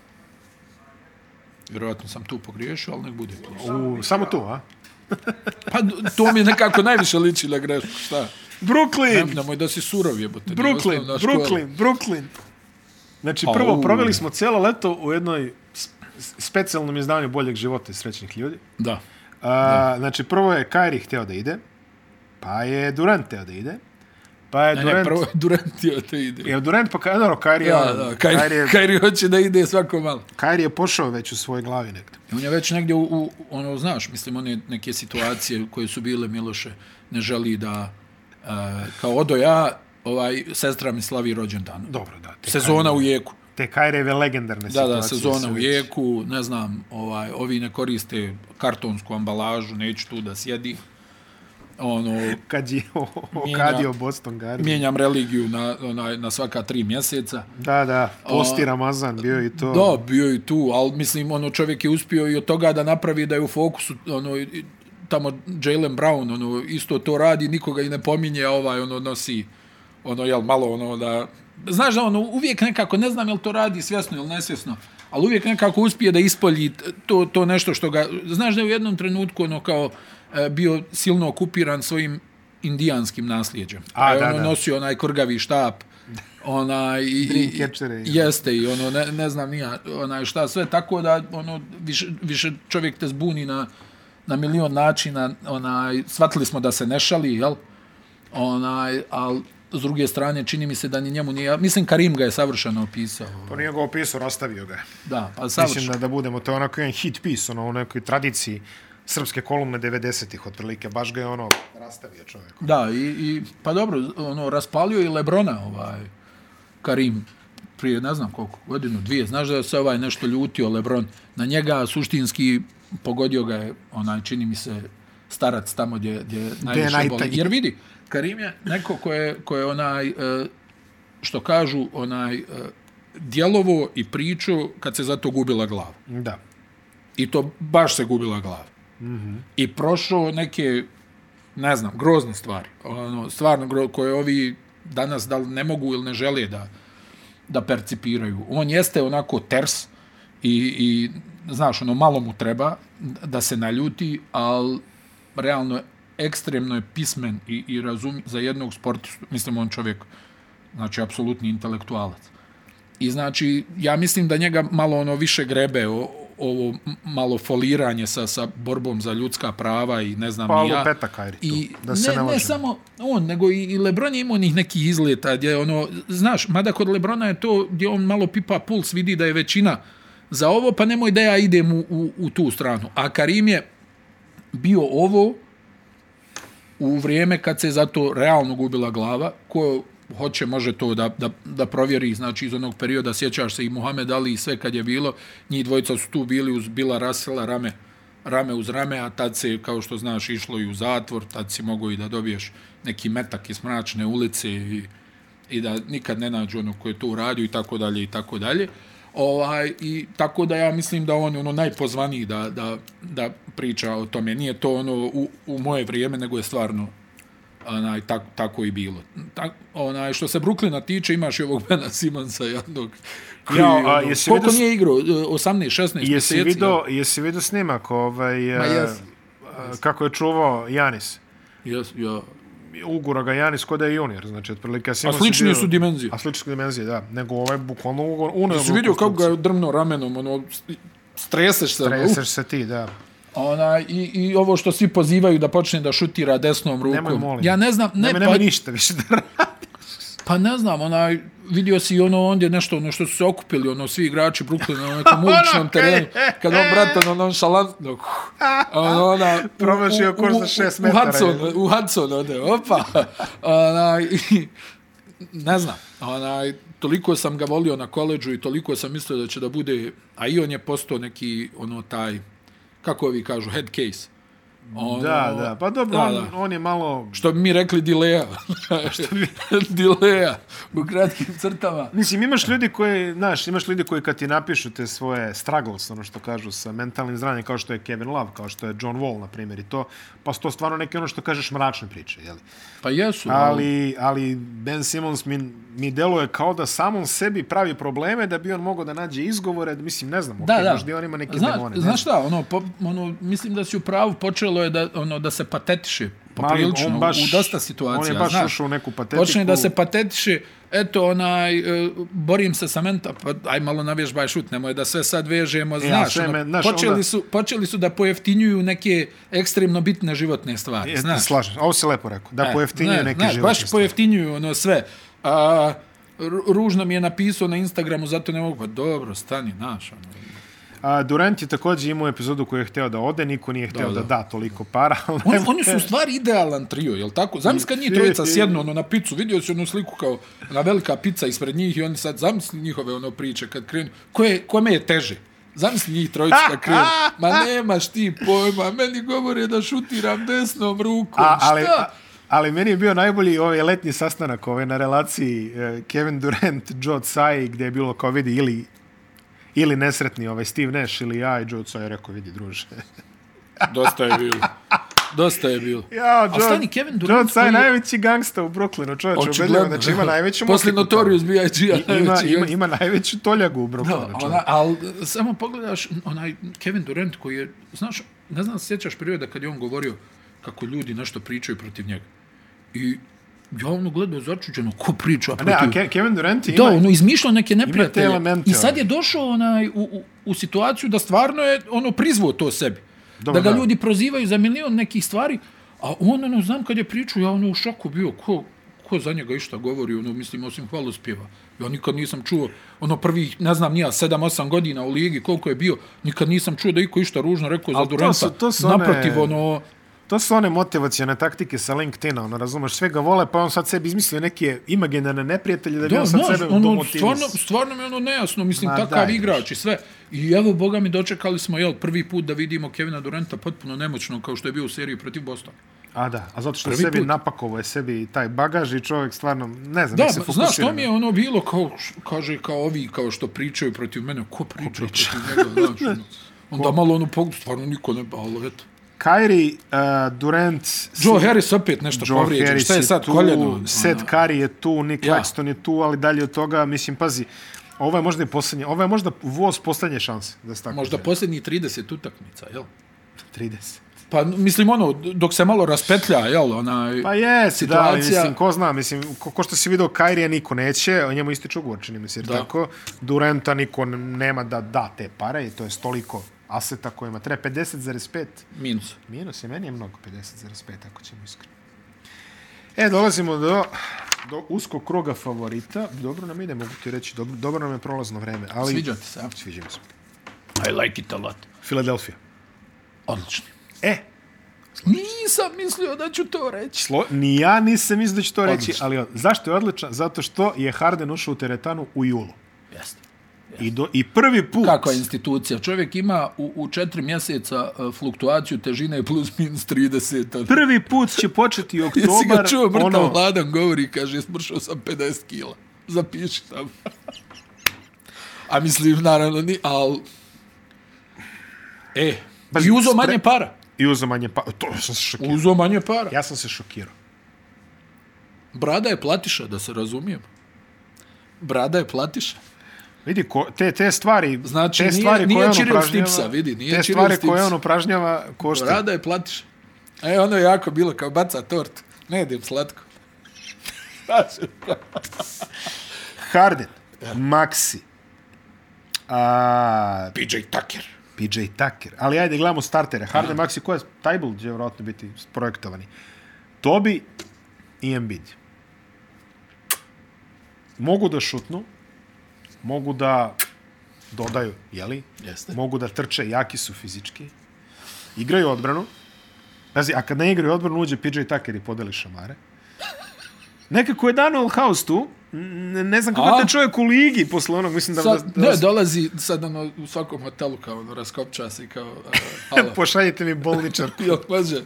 A: Vjerovatno sam tu pogriješio, ali nek bude plus.
C: U, samo tu, a?
A: Pa to mi nekako najviše liči na grešku, šta? Nem,
C: Brooklyn!
A: nemoj da si surov jebote. nije
C: Brooklyn,
A: osnovna škola.
C: Brooklyn, Brooklyn. Znači,
A: Au.
C: prvo, proveli smo cijelo leto u jednoj s- s- specijalnom izdanju boljeg života i srećnih ljudi.
A: Da.
C: A, znači, prvo je Kyrie hteo da ide, pa je Durant hteo da ide, pa je
A: Ne, ne,
C: Durant...
A: prvo je Durant je te ide.
C: Je Durant pa Kyrie, dobro, Kyrie,
A: Ja, da, Kairi,
C: Kyrie,
A: Kairi hoće da ide svako malo.
C: Kyrie je pošao već u svoj glavi negde.
A: I On je već negdje u, u ono, znaš, mislim, one neke situacije koje su bile Miloše, ne želi da, uh, kao odo ja, ovaj, sestra mi slavi rođendan.
C: Dobro, da. Te,
A: Sezona u jeku.
C: te Kyrie legendarne
A: Da,
C: situacije.
A: da,
C: se
A: sezona u
C: već-
A: jeku, ne znam, ovaj, ovi ne koriste kartonsku ambalažu, neću tu da sjedi. Ono,
C: kad je o- o-
A: Mijenja-
C: okadio Boston Garden.
A: mijenjam religiju na, onaj, na svaka tri mjeseca.
C: Da, da, posti Ramazan bio i to.
A: Da, bio i tu, ali mislim, ono, čovjek je uspio i od toga da napravi da je u fokusu, ono, i- tamo Jalen Brown, ono, isto to radi, nikoga i ne pominje, a ovaj, ono, nosi, ono, jel, malo, ono, da... Znaš da, ono, uvijek nekako, ne znam jel to radi svjesno ili nesvjesno, ali uvijek nekako uspije da ispolji t- to, to nešto što ga... Znaš da je u jednom trenutku, ono, kao, e, bio silno okupiran svojim indijanskim nasljeđem.
C: A,
A: Pa je
C: da,
A: ono
C: da.
A: nosio onaj korgavi štap, onaj... i- i- i-
C: Dreamcatchere, jel?
A: Jeste i ono, ne, ne znam nija, onaj šta sve, tako da ono, više, više čovjek te zbuni na, na milion načina, onaj, shvatili smo da se ne šali, jel? Onaj, ali s druge strane, čini mi se da ni njemu nije... Mislim, Karim ga je savršeno opisao.
C: Pa nije ga opisao, rastavio ga je.
A: Da, pa
C: Mislim
A: savršeno.
C: da, da budemo, to je onako jedan hit piece, ono, u nekoj tradiciji srpske kolumne 90-ih, otprilike, baš ga je ono rastavio čovjek.
A: Da, i, i pa dobro, ono, raspalio je i Lebrona ovaj, Karim prije ne znam koliko, godinu, dvije. Znaš da se ovaj nešto ljutio Lebron. Na njega suštinski pogodio ga je, onaj, čini mi se, starac tamo gdje, gdje najviše boli.
C: najtanji.
A: Jer vidi, Karim je neko ko je, ko je onaj, e, što kažu, onaj, e, djelovo i priču kad se zato gubila glava.
C: Da.
A: I to baš se gubila glava. Mm -hmm. I prošao neke, ne znam, grozne stvari. Ono, stvarno, gro, koje ovi danas da li ne mogu ili ne žele da, da percipiraju. On jeste onako ters i, i znaš, ono, malo mu treba da se naljuti, ali realno ekstremno je pismen i, i razum za jednog sportistu. Mislim, on čovjek, znači, apsolutni intelektualac. I znači, ja mislim da njega malo ono više grebe o, ovo m- malo foliranje sa, sa borbom za ljudska prava i ne znam
C: Pa
A: ni
C: ovo
A: ja.
C: petak, ajde tu,
A: I
C: da se ne,
A: ne, ne
C: lažemo.
A: samo on, nego i, i Lebron je imao njih nekih izleta gdje ono, znaš, mada kod Lebrona je to gdje on malo pipa puls, vidi da je većina za ovo, pa nemoj da ja idem u, u, u tu stranu. A Karim je bio ovo u vrijeme kad se zato realno gubila glava, ko hoće može to da, da, da provjeri, znači iz onog perioda sjećaš se i Muhammed Ali i sve kad je bilo, njih dvojica su tu bili uz Bila Rasela rame, rame uz rame, a tad se, kao što znaš, išlo i u zatvor, tad si mogao i da dobiješ neki metak iz mračne ulice i, i da nikad ne nađu ono ko je to uradio i tako dalje i tako dalje. Ovaj, i tako da ja mislim da on je ono najpozvaniji da, da, da priča o tome. Nije to ono u, u moje vrijeme, nego je stvarno onaj, tak, tako i bilo. Tak, onaj, što se Brooklyna tiče, imaš i ovog *laughs* Bena Simonsa jednog. Koji,
C: Jao, a
A: ono,
C: jesi
A: koliko
C: vidio s-
A: nije igrao? E, 18, 16
C: Jesi
A: mjeseci?
C: vidio, jesi vidio snimak ovaj,
A: Ma
C: eh,
A: jesam.
C: eh, kako je čuvao Janis?
A: Jes, ja.
C: Ugura ga Janis kod je junior, znači otprilike.
A: A slični su dimenzije.
C: A slične dimenzije, da. Nego ovaj bukvalno ugor, uneo.
A: Jesi
C: ga u
A: vidio kako
C: konstrukciju.
A: ga je drmno ramenom, ono, streseš se. ono, uf.
C: Treseš se ti, da.
A: Ona, i, I ovo što svi pozivaju da počne da šutira desnom rukom.
C: Nemoj, molim.
A: Ja ne znam, ne,
C: Ne, nema,
A: pa,
C: nema ništa više da radi.
A: pa ne znam, onaj, vidio si ono ondje nešto, ono što su se okupili, ono, svi igrači Brooklyna na
C: *laughs* Ono,
A: nekom uličnom terenu, kad on bratan, ono, šalantno, ono, ona, u-
C: Promašio
A: u- u-
C: kurs za šest
A: u-
C: metara,
A: U Hudson,
C: je.
A: u Hudson ode, opa, onaj, i- ne znam, onaj, toliko sam ga volio na koleđu i toliko sam mislio da će da bude, a i on je postao neki, ono, taj, kako vi kažu, head case. Ono,
C: Da, da. Pa dobro,
A: da,
C: on,
A: da.
C: on je malo...
A: Što bi mi rekli *laughs* dileja. Što bi... *laughs* dileja u kratkim crtama.
C: Mislim, imaš ljudi koji, znaš, imaš ljudi koji kad ti napišu te svoje struggles, ono što kažu sa mentalnim zdravljem, kao što je Kevin Love, kao što je John Wall, na primjer, i to, pa su to stvarno neke ono što kažeš mračne priče, jeli?
A: Pa jesu.
C: Ali, ali Ben Simmons mi, mi deluje kao da samom sebi pravi probleme da bi on mogao da nađe izgovore, mislim, ne znam,
A: da,
C: okej,
A: da.
C: možda on ima neke
A: Zna,
C: demone. ne
A: Znaš šta, ono, po, ono, mislim da si u pravu, počelo je da, ono, da se patetiše poprilično
C: on
A: baš,
C: baš-
A: u dosta situacija.
C: on je baš
A: znaš.
C: ušao u neku patetiku.
A: Počne da se patetiše, eto, onaj, e, borim se sa menta, pa aj malo navježbaj šut, nemoj da sve sad vežemo, znaš,
C: E, sve
A: ono,
C: me- znaš,
A: počeli,
C: onda-
A: su, počeli su da pojeftinjuju neke ekstremno bitne životne stvari,
C: E,
A: znaš.
C: Slažem, ovo si lepo rekao, da
A: E,
C: Pa pojeftinjuje
A: ne,
C: neki
A: znaš,
C: život.
A: Baš pojeftinjuju ono sve. A, ru- ružno mi je napisao na Instagramu, zato ne mogu. Pa dobro, stani, znaš. Ono.
C: A, Durant je također imao epizodu koju je hteo da ode, niko nije hteo da, da,
A: da.
C: toliko para. *laughs* ali
A: Oni,
C: nema-
A: oni su u stvari idealan trio, jel tako? Zamisli kad njih trojica sjednu ono, na picu, vidio si onu sliku kao na velika pica ispred njih i oni sad zamisli njihove ono priče kad krenu. Koje, kome je teže? Zamisli njih trojica kad krenu. Ma nemaš ti pojma, meni govore da šutiram desnom rukom.
C: A, ali, a,
A: Šta?
C: ali meni je bio najbolji ovaj letnji sastanak ovaj, na relaciji eh, Kevin Durant, Joe Tsai, gdje je bilo kao vidi ili ili nesretni ovaj Steve Nash ili ja i Joe Tsai je rekao vidi druže. *laughs*
A: Dosta je bilo. Dosta je bilo.
C: Ja,
A: A stani, Kevin Durant
C: Joe Tsai
A: koji je-
C: najveći gangsta u Brooklynu, čovječe, ubedljivo, znači ima najveću
A: Posle
C: motiku tamo.
A: Notorious B.I.G. *laughs*
C: I- Ima, ima, znači. ima najveću toljagu u Brooklynu,
A: Da,
C: čovječe.
A: znači, ona, ali samo pogledaš onaj Kevin Durant koji je, znaš, ne znam, se sjećaš perioda kad je on govorio kako ljudi nešto pričaju protiv njega. I ja ono gledao začuđeno, ko priča
C: Ne, a
A: protiv...
C: Ke- Kevin Durant je
A: Da,
C: ima,
A: ono, izmišljao neke neprijatelje.
C: elemente,
A: I sad
C: ono.
A: je došao onaj, u, u, u situaciju da stvarno je ono prizvao to sebi.
C: Dobro,
A: Dobar, da ga
C: da.
A: ljudi prozivaju za milion nekih stvari, a on, ono, znam kad je pričao, ja ono u šoku bio, ko, ko za njega išta govori, ono, mislim, osim hvalospjeva. Ja nikad nisam čuo, ono, prvih, ne znam, nija, 7-8 godina u ligi, koliko je bio, nikad nisam čuo da iko išta ružno rekao
C: Al
A: za
C: to
A: Duranta.
C: su- to su one-
A: Naprotiv, ono,
C: To su one motivacione taktike sa LinkedIna, ono, razumeš, sve ga vole, pa on sad sebi izmislio neke imaginarne neprijatelje da bi
A: Da,
C: on sad
A: znaš,
C: sebe
A: ono,
C: domotivisao.
A: stvarno, stvarno mi je ono nejasno, mislim,
C: Ma,
A: Ma, takav
C: daj,
A: igrač i sve. I evo, boga mi, dočekali smo, jel, prvi put da vidimo Kevina Duranta potpuno nemoćno, kao što je bio u seriji protiv Bostona.
C: A da, a zato što
A: Prvi
C: sebi
A: put.
C: napakovo je sebi taj bagaž i čovjek stvarno, ne znam,
A: Da,
C: nek se
A: ma,
C: fokusira.
A: znaš, to
C: na-
A: mi je ono bilo, kao, š- kaže, kao ovi, kao što pričaju protiv mene, ko priča, protiv njega,
C: *laughs*
A: znaš, ono. Onda malo ono pogled, stvarno niko ne, ali eto.
C: Kyrie, uh, Durant,
A: Joe
C: si-
A: Harris opet nešto
C: Joe
A: povrijeđen,
C: Harris
A: šta je sad
C: tu,
A: koljeno?
C: Seth
A: Ono,
C: Curry je tu, Nick
A: Ja.
C: Claxton je tu, ali dalje od toga, mislim, pazi, ovo je možda i poslednje, ovo je možda voz poslednje šanse, da se tako
A: Možda
C: kaže.
A: posljednji 30 utakmica, jel?
C: 30.
A: Pa, mislim, ono, dok se malo raspetlja, jel, onaj...
C: Pa jes, da, ali,
A: Situacija-
C: mislim, ko zna, mislim, ko, ko što si vidio, Kairija niko neće, o njemu ističe ugovor, čini mi se, jer
A: Da.
C: tako, Durenta niko n- nema da da te pare i to je stoliko aseta kojima treba 50,5,
A: Minus.
C: minus je meni je mnogo 50,5, ako ćemo iskreno. E, dolazimo do, do uskog kruga favorita, dobro nam ide, mogu ti reći, dobro, dobro nam je prolazno vreme, ali...
A: Sviđa ti se, a?
C: Sviđa mi se.
A: I like it a lot.
C: Filadelfija.
A: Odlično.
C: E,
A: Nisam mislio da ću to reći.
C: Slo, ni ja nisam mislio da ću to reći,
A: Odlično.
C: ali on- zašto je odličan? Zato što je Harden ušao u teretanu u julu.
A: Jeste.
C: I, do, I prvi put...
A: Kakva je institucija? Čovjek ima u, u četiri mjeseca uh, fluktuaciju težine plus minus 30. ono.
C: Prvi put će
A: *laughs*
C: početi
A: Jesi
C: oktobar,
A: ga čuo, mrtav ono...
C: ono,
A: hladan govori, kaže, smršao sam 50 kila. Zapiši sam. A mislim, naravno, ni, al... E,
C: Pa,
A: i uzo
C: spre-
A: manje para.
C: i uzo manje pa... To sam se šokirao.
A: Uzo manje para.
C: Ja sam se šokirao.
A: Brada je platiša, da se razumijemo. Brada je platiša.
C: Vidi, ko, te, te stvari,
A: Znači,
C: te
A: nije-
C: stvari
A: nije
C: koje on
A: Cyril
C: upražnjava,
A: Stipsa, vidi, nije
C: te
A: Cyril
C: stvari koje
A: Stips.
C: on upražnjava košta.
A: Brada je platiš. E, ono je jako bilo kao baca tort. Ne jedem slatko.
C: Harden, Maxi, a,
A: PJ Tucker.
C: PJ Tucker. Ali ajde, gledamo startere. Harden, Maxi, koja je Tybal će vjerojatno biti projektovani. Tobi i Embiid. Mogu da šutnu, mogu da dodaju, jeli?
A: Jeste.
C: Mogu da trče, jaki su fizički. Igraju odbranu. Pazi, a kad ne igraju odbranu, uđe PJ Tucker i podeli šamare. Nekako je Daniel House tu, ne, ne znam kako
A: A?
C: je taj čovjek u ligi posle onog, mislim da...
A: Sad,
C: da, da
A: ne, dolazi sad ono, u svakom hotelu kao ono, raskopča se kao...
C: *laughs*
A: Uh, halo.
C: Pošaljite mi bolničar
A: Jel, može,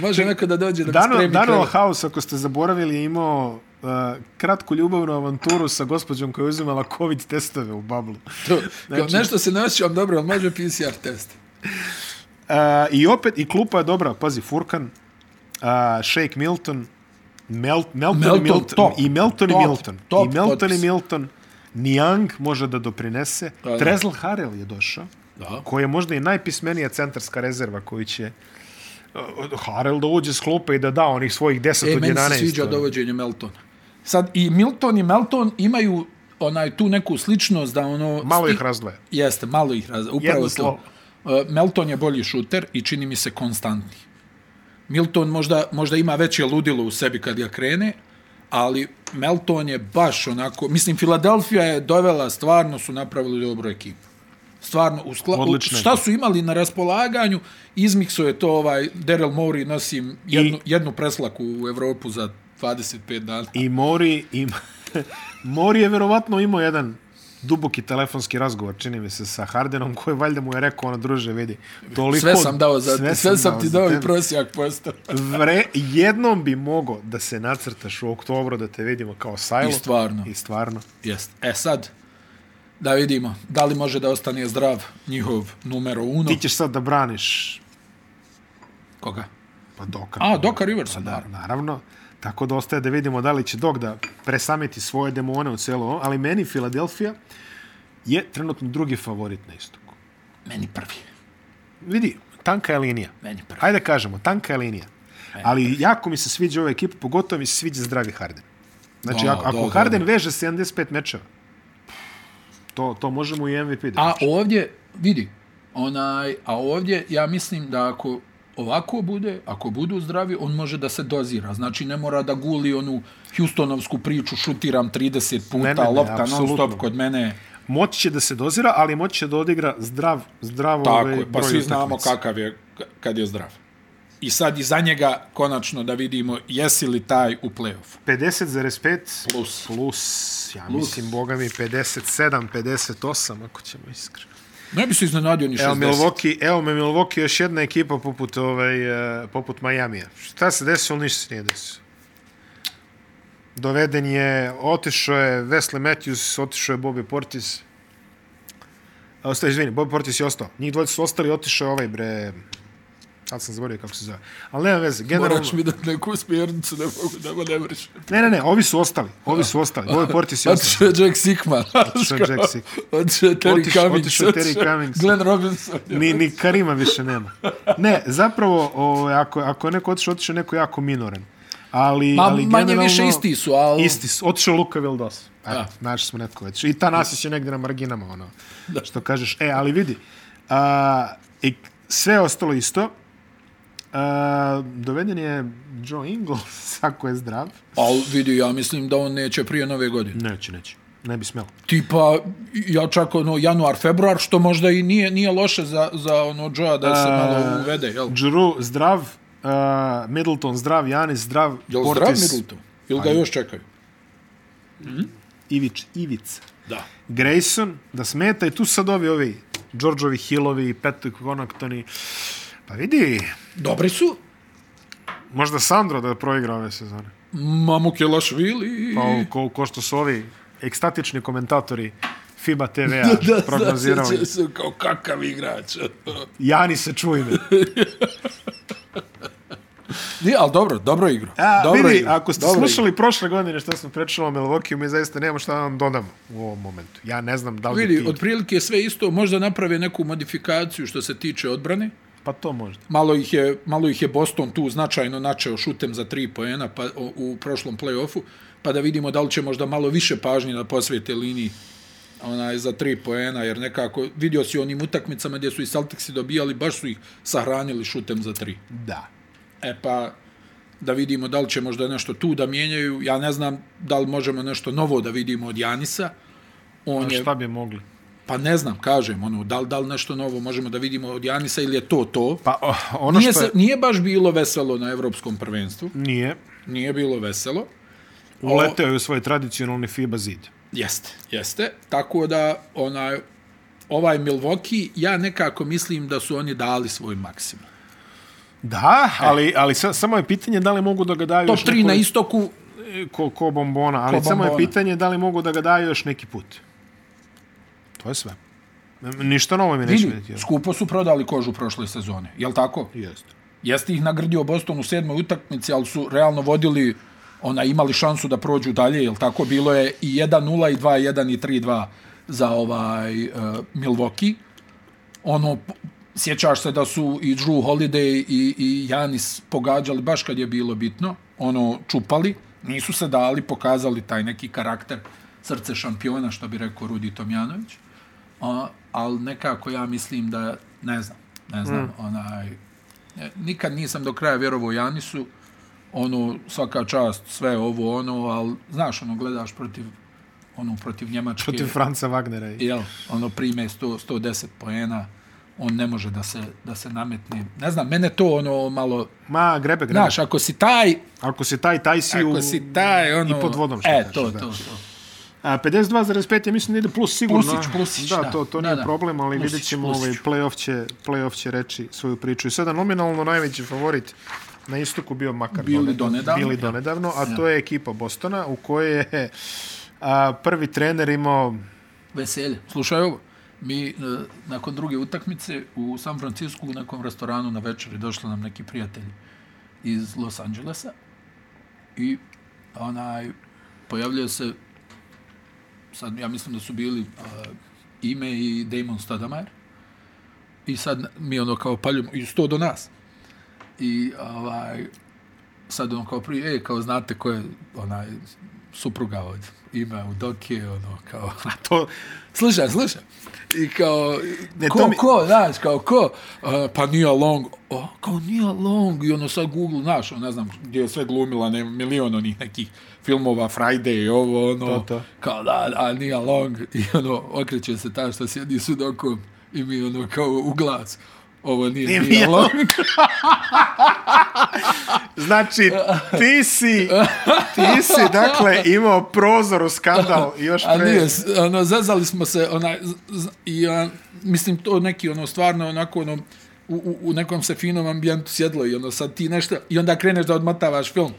A: može neko da dođe da mi
C: Dano,
A: spremi
C: Dano
A: krevet.
C: House, ako ste zaboravili, je imao uh, kratku ljubavnu avanturu sa gospođom koja je uzimala COVID testove u bablu.
A: To, *laughs* kao,
C: Znači-
A: nešto se ne osjećam dobro, ali može PCR test.
C: Uh, I opet, i klupa je dobra. Pazi, Furkan, uh, Shake Milton, Mel, Melton,
A: Melton,
C: i Milton
A: top.
C: i
A: Top,
C: Melton i Milton.
A: top
C: I Melton
A: potpis.
C: i Milton. Niang može da doprinese.
A: Da, da.
C: Trezl Harrell je došao,
A: Da.
C: koji je možda i najpismenija centarska rezerva koju će uh, Harrell da uđe s klupe i da da onih svojih 10
A: E,
C: od 11.
A: meni se sviđa
C: ono.
A: dovođenje Meltona. Sad, i Milton i Melton imaju onaj tu neku sličnost da ono...
C: Malo ih
A: sti-
C: razdvaja.
A: Jeste, malo ih razlika. Upravo
C: Jedno
A: to.
C: slovo.
A: E, Melton je bolji šuter i čini mi se konstantni. Milton možda, možda ima veće ludilo u sebi kad ga krene, ali Melton je baš onako... Mislim, Filadelfija je dovela, stvarno su napravili dobru ekipu. Stvarno, u skla... u,
C: Odlična
A: šta
C: ekipa.
A: su imali na raspolaganju, izmikso je to ovaj... Daryl Morey nosim jednu, I... jednu preslaku u Evropu za 25 dana.
C: I Mori, i, *laughs* Mori je verovatno imao jedan duboki telefonski razgovor, čini mi se, sa Hardenom, koji valjda mu je rekao, ono, druže, vidi, toliko...
A: Sve sam dao za... Sve, sve sam, ti
C: za
A: dao i
C: tebe."
A: prosjak postao.
C: Vre, jednom bi mogo da se nacrtaš u oktobru, da te vidimo kao sajlo.
A: I stvarno.
C: I stvarno.
A: Jest. E sad, da vidimo, da li može da ostane zdrav njihov numero uno.
C: Ti ćeš sad da braniš,
A: Koga?
C: pa Doka.
A: A, Doka Riversa,
C: Pa da,
A: da.
C: naravno. Tako da ostaje da vidimo da li će Dok da presamiti svoje demone u celo ovo, ali meni Filadelfija je trenutno drugi favorit na istoku.
A: Meni prvi.
C: Vidi, tanka je linija.
A: Meni prvi.
C: Ajde kažemo, tanka je linija. Ali jako mi se sviđa ova ekipa, pogotovo mi se sviđa zdravi Harden. Znači,
A: Da,
C: ako, ako
A: da, da,
C: Harden
A: da.
C: veže 75 mečeva, to, to možemo i MVP da.
A: A ovdje, vidi, onaj, a ovdje ja mislim da ako ovako bude, ako budu zdravi, on može da se dozira. Znači, ne mora da guli onu Houstonovsku priču, šutiram 30 puta,
C: Ne, ne, ne,
A: lopta non
C: apsolutno.
A: stop kod mene.
C: Moć će da se dozira, ali moć će da odigra zdrav, zdrav
A: Tako
C: ovaj,
A: je, pa
C: broj
A: svi znamo
C: utakmica.
A: kakav je k- kad je zdrav. I sad i za njega konačno da vidimo jesi li taj u play-offu.
C: 50,5
A: Plus.
C: plus, ja plus. mislim, boga mi, 57, 58, ako ćemo iskreno.
A: Ne bi se iznenadio ni
C: Evo
A: 60.
C: Milwaukee, evo me Milwaukee, još jedna ekipa poput, ovaj, eh, poput Majamija. Šta se desilo? Ništa se nije desilo. Doveden je, otišao je Wesley Matthews, otišao je Bobby Portis. A, Ostao, izvini, Bobby Portis je ostao. Njih dvojica su ostali, otišao je ovaj, bre, sad sam zaboravio kako se zove. Ali nema veze, generalno...
A: Moraš mi da neku smjernicu ne mogu da me ne vrši.
C: Ne, ne, ne, ovi su ostali, ovi su ostali. Bobby Portis je ostao.
A: Otišao je Jack Sigma.
C: Otišao je Jack Sigma.
A: Otišao je Terry
C: Otišao-
A: Cummings.
C: otišao je Terry Cummings.
A: Glenn Robinson.
C: Ni, ni Karima više nema. Ne, zapravo, ovaj, ako, ako je neko otišao, otišao je neko jako minoran. Ali,
A: Ma,
C: ali
A: manje
C: generalno-
A: više isti su, ali...
C: Isti su. Otišao je Luka Vildos. Eto,
A: Da.
C: našli smo netko već. I ta Nasić je negdje na marginama, ono, da. što kažeš. E, ali vidi, a, i sve je ostalo isto. A, doveden je Joe Ingles, *laughs* ako je zdrav.
A: Ali vidi, ja mislim da on neće prije nove godine.
C: Neće, neće. Ne bi smelo.
A: Tipa, ja čak ono, januar, februar, što možda i nije, nije loše za, za ono Joa da se malo uvede, jel?
C: Drew zdrav, uh, Middleton zdrav, Janis zdrav,
A: Jel zdrav
C: Portis,
A: Middleton? Ili ga još čekaju?
C: Ivić, Ivica.
A: Da.
C: Grayson, da smeta i tu sad ovi ovi Đorđovi Hillovi, Patrick Connachtoni. Pa vidi,
A: Dobri su.
C: možda Sandro da proigra ove sezone.
A: Mamuk je Lašvili.
C: Pa o- ko, ko što su ovi ekstatični komentatori FIBA
A: *laughs*
C: *laughs* TV-a prognozirali.
A: sjeća se kao kakav igrač.
C: Jani se čuje me.
A: *laughs* Nije, ali dobro, dobro igra.
C: A,
A: dobro
C: vidi,
A: igra.
C: ako ste
A: dobro
C: slušali prošle godine što smo pričali o Milwaukee, mi zaista nemamo šta da vam dodamo u ovom momentu. Ja ne znam da li bi
A: Vidi,
C: ti...
A: otprilike je sve isto, možda naprave neku modifikaciju što se tiče odbrane.
C: Pa to možda.
A: Malo ih je, malo ih je Boston tu značajno načeo šutem za tri poena pa, o, u prošlom play-offu, pa da vidimo da li će možda malo više pažnje da posvete liniji onaj, za tri poena, jer nekako vidio si u onim utakmicama gdje su i Celticsi dobijali, baš su ih sahranili šutem za tri.
C: Da.
A: E pa, da vidimo da li će možda nešto tu da mijenjaju. Ja ne znam da li možemo nešto novo da vidimo od Janisa. On je,
C: Šta bi mogli?
A: pa ne znam, kažem, ono, da li, da li nešto novo možemo da vidimo od Janisa ili je to to.
C: Pa o, ono
A: Nije,
C: što
A: se,
C: je...
A: nije baš bilo veselo na evropskom prvenstvu.
C: Nije.
A: Nije bilo veselo.
C: Uleteo je u svoj tradicionalni FIBA zid.
A: Jeste, jeste. Tako da, onaj, ovaj Milwaukee, ja nekako mislim da su oni dali svoj maksimum.
C: Da, ali, ali sa, samo je pitanje da li mogu da ga daju
A: Top
C: još e,
A: 3 na istoku,
C: ko, ko bombona, ali
A: Ko
C: samo je
A: bombona.
C: pitanje da li mogu da ga daju još neki put. To je sve. N- Ništa novo mi neće
A: vidi,
C: vidjeti.
A: skupo su prodali kožu prošle sezone. Jel tako?
C: Jeste.
A: Jeste ih nagrdio Boston u sedmoj utakmici, ali su realno vodili, ona imali šansu da prođu dalje, jel tako? Bilo je i 1-0 i 2-1 i 3-2 za ovaj uh, Milwaukee. Ono p- sjećaš se da su i Drew Holiday i i Janis pogađali baš kad je bilo bitno, ono čupali, nisu se dali, pokazali taj neki karakter srce šampiona, što bi rekao Rudi Tomjanović. A, ali nekako ja mislim da, ne znam, ne znam, mm. onaj, e, nikad nisam do kraja vjerovao Janisu, ono, svaka čast, sve ovo, ono, ali, znaš, ono, gledaš protiv, ono, protiv Njemačke.
C: Protiv Franca Wagnera. I...
A: Jel, ono, prime 100, 110 poena, on ne može da se, da se nametne. Ne znam, mene to, ono, malo,
C: Ma, grebe, grebe.
A: znaš, ako si taj,
C: Ako si taj, taj si u...
A: ako si taj, ono...
C: pod vodom, što
A: E,
C: kažeš,
A: to,
C: da.
A: to, to.
C: A, 52,5 je mislim da ide plus sigurno.
A: Plusić, plusić,
C: da.
A: da.
C: to, to
A: Da,
C: nije
A: da.
C: problem, ali
A: Plusić,
C: vidjet ćemo
A: plusić.
C: ovaj, playoff će, playoff će reći svoju priču. I sada nominalno najveći favorit na istoku bio makar
A: Bili donedavno.
C: bili
A: Ja.
C: donedavno a to je ekipa Bostona u kojoj je a, prvi trener imao
A: veselje. Slušaj ovo, mi e, nakon druge utakmice u San Francisku u nekom restoranu na večeri došli nam neki prijatelji iz Los Angelesa i onaj pojavljaju se sad ja mislim da su bili e, ime i Damon Stadamajer i sad mi ono kao paljujemo i sto do nas ono i ovaj sad on kao prije, e, kao znate ko je onaj supruga od ima u doke, ono, kao... *laughs*
C: A to,
A: Slušam, slušam. I kao,
C: Ne,
A: ne,
C: to
A: ko,
C: mi-
A: mi... ko, znaš, kao, ko? Uh, pa Nia Long. O, kao Nia Long. I ono sad Google, znaš, ono, ne znam, gdje je sve glumila, ne, milion onih nekih filmova, Friday i ovo, ono.
D: To, to.
A: Kao, da, a Nia Long. I ono, okreće se ta što sjedi sudokom i mi ono, kao, u glas. Ovo nije,
C: Nije
A: nije
C: Nia
A: Nia Long.
C: znači, ti si, ti si, dakle, imao prozor u skandal i još
A: A
C: pre...
A: nije, s- ono, zezali smo se, onaj, z- z- i, a, mislim, to neki, ono, stvarno, onako, ono, u, u, u nekom se finom ambijentu sjedlo i ono, sad ti nešto, i onda kreneš da odmatavaš film.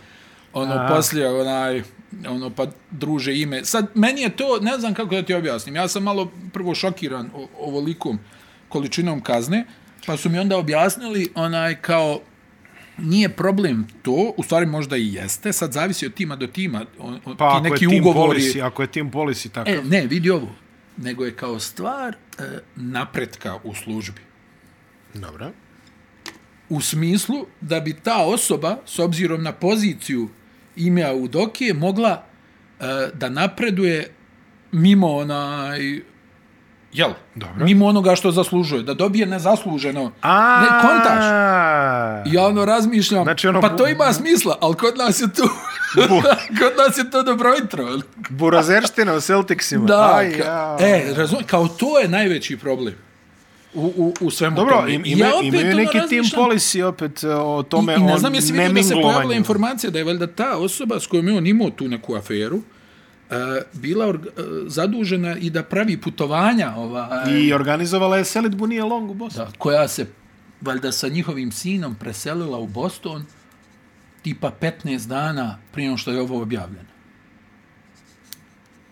A: Ono, Aha. poslije, onaj, ono, pa druže ime. Sad, meni je to, ne znam kako da ti objasnim, ja sam malo prvo šokiran o, ovolikom količinom kazne, pa su mi onda objasnili, onaj, kao, nije problem to, u stvari možda i jeste, sad zavisi od tima do tima, on, on,
C: Pa
A: ti
C: ako je,
A: neki
C: team
A: ugovori...
C: policy, ako je team policy takav.
A: E, ne, vidi ovo. Nego je kao stvar e, napretka u službi.
D: Dobro.
A: U smislu da bi ta osoba, s obzirom na poziciju imea u doke, mogla e, da napreduje mimo onaj... Jel?
D: Dobro.
A: Mimo onoga što zaslužuje. Da dobije nezasluženo.
C: A,
A: ne, kontaš. I Ja ono razmišljam,
C: Znači, ono-
A: pa to ima smisla, ali kod nas je to... *laughs* kod nas je to dobro jutro.
C: Burazerština u Celticsima.
A: Da,
C: Aj,
A: ka,
C: ja.
A: e, razum, kao to je najveći problem u, u, u svemu
C: Dobro,
A: tome.
C: im, ima, ja
A: opet
C: imaju
A: ono
C: neki team
A: razmišljam-
C: policy opet e, o tome,
A: I, i
C: o
A: ne znam jesi vidio da se pojavila
C: neminglovanju.
A: informacija da je valjda ta osoba s kojom je on imao tu neku aferu uh, bila org, uh, zadužena i da pravi putovanja ova, e,
C: I organizovala je selitbu nije long u Bosni.
A: da, koja se valjda sa njihovim sinom preselila u Boston tipa 15 dana prije nego što je ovo objavljeno.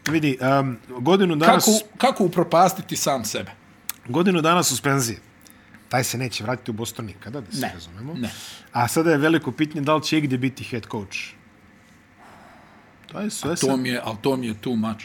C: Vidi, um, godinu danas...
A: Kako, kako upropastiti sam sebe?
C: Godinu dana suspenzije. Taj se neće vratiti u Boston nikada, da se
A: Ne,
C: razumemo.
A: ne.
C: A sada je veliko pitanje da li će igdje biti head coach. To je sve
A: To
C: sad.
A: mi je, ali to mi je too much.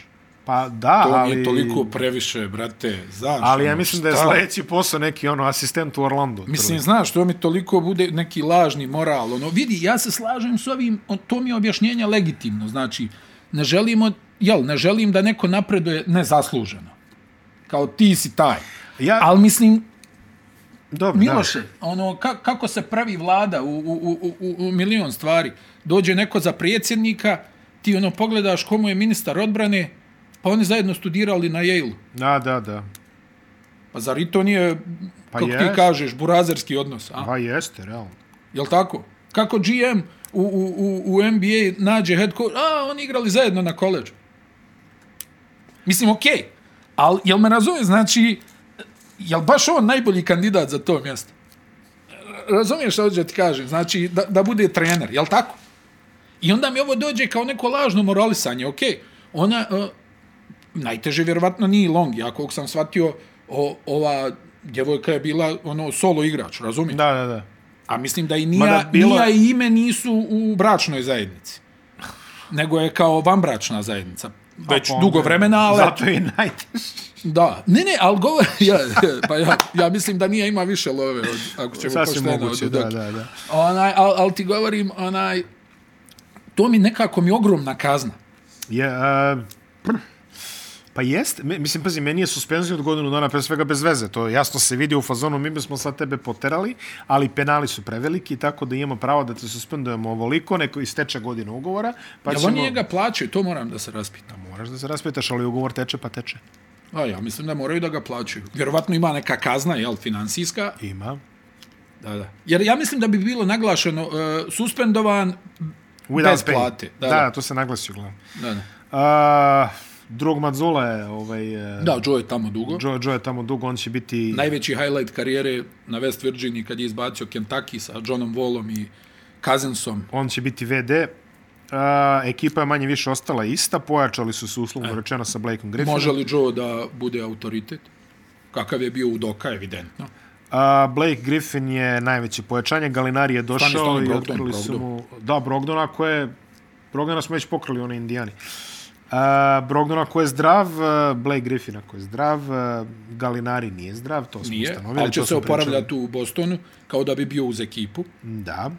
C: Pa da,
A: To
C: ali...
A: mi je toliko previše, brate, znaš.
C: Ali ja
A: ono,
C: mislim da je
A: šta?
C: sljedeći posao neki ono asistent u Orlandu.
A: Mislim, znaš, to mi toliko bude neki lažni moral. Ono, vidi, ja se slažem s ovim, o- to mi je objašnjenje legitimno. Znači, ne želimo, jel, ne želim da neko napreduje nezasluženo. Kao ti si taj.
C: Ja-
A: Ali mislim,
C: Dobro,
A: Miloše, ono, ka, kako se pravi vlada u, u, u, u, u milion stvari. Dođe neko za predsjednika, ti ono pogledaš komu je ministar odbrane, pa oni zajedno studirali na Yale.
C: Da, da, da. da.
A: Pa zar i to nije, pa
C: Pa
A: kako
C: jest.
A: ti kažeš, burazerski odnos? A?
C: Pa jeste, realno.
A: Jel tako? Kako GM u, u, u, u NBA nađe head coach, a oni igrali zajedno na koleđu. Mislim, okej, okay, ali jel me razumije, znači, jel baš on najbolji kandidat za to mjesto? Razumiješ što hoću da ti kažem? Znači, da, da bude trener, jel tako? I onda mi ovo dođe kao neko lažno moralisanje, okej, okay, ona, uh, najteže vjerovatno nije Long, ja koliko sam shvatio, o, ova djevojka je bila ono solo igrač, razumiješ?
C: Da, da, da.
A: A mislim da i
C: Mada
A: Nija,
C: bilo-
A: bilo... Nija i ime nisu u bračnoj zajednici. Nego je kao vanbračna zajednica. Već
C: Pa onda-
A: dugo vremena, ali...
C: Zato je najteže.
A: Da. Ne, ne, ali govor... *laughs* Ja, pa ja, ja mislim da Nija ima više love, od, ako ćemo
C: Sasvim
A: pošteno
C: moguće,
A: od
C: da,
A: Udoke.
C: da, da.
A: Onaj, ali al ti govorim, onaj... To mi nekako mi je ogromna kazna.
C: Je, uh, pa jest, me- mislim, pazi, meni je suspenzija od godinu dana, pre svega bez veze, to jasno se vidi u fazonu, mi bismo sad tebe poterali, ali penali su preveliki, tako da imamo pravo da te suspendujemo ovoliko, neko isteče godinu ugovora, pa
A: Jel
C: ćemo...
A: oni njega plaćaju? To moram da se raspitam.
C: Moraš da se raspitaš, ali ugovor teče, pa teče.
A: A ja mislim da moraju da ga plaćaju. Vjerovatno ima neka kazna, jel, finansijska,
C: Ima.
A: Da, da. Jer ja mislim da bi bilo naglašeno uh, suspendovan
C: Without
A: bez
C: pay.
A: plate.
C: Da, da, to se naglasi uglavnom.
A: da. da.
C: Uh, drug Mazzola je, ovaj, e,
A: da Joe je tamo dugo. Joe.
C: Joe, Joe je tamo dugo, on će biti...
A: Najveći highlight karijere na West Virginiji kad je izbacio Kentucky sa Johnom Wallom i Cousinsom.
C: on će biti VD. Uh, ekipa je manje više ostala ista, pojačali su se uslovno rečeno sa Blakeom Griffinom.
A: E. Može li Joe da bude autoritet? Kakav je bio u Doka, evidentno.
C: A, Blake Griffin je najveće pojačanje, Galinari je došao
A: Stani, stani,
C: i
A: Brogdon,
C: otkrili su
A: Brogdon.
C: mu... Da, Brogdona koje je... Brogdona smo već pokrali, on je indijani. A, Brogdona koji je zdrav, a, Blake Griffina koji je zdrav, a, Galinari nije zdrav, to smo
A: Nije,
C: ustanovili.
A: ali će
C: to
A: se
C: smo
A: oporavljati u Bostonu kao da bi bio uz ekipu.
C: pričali. Da.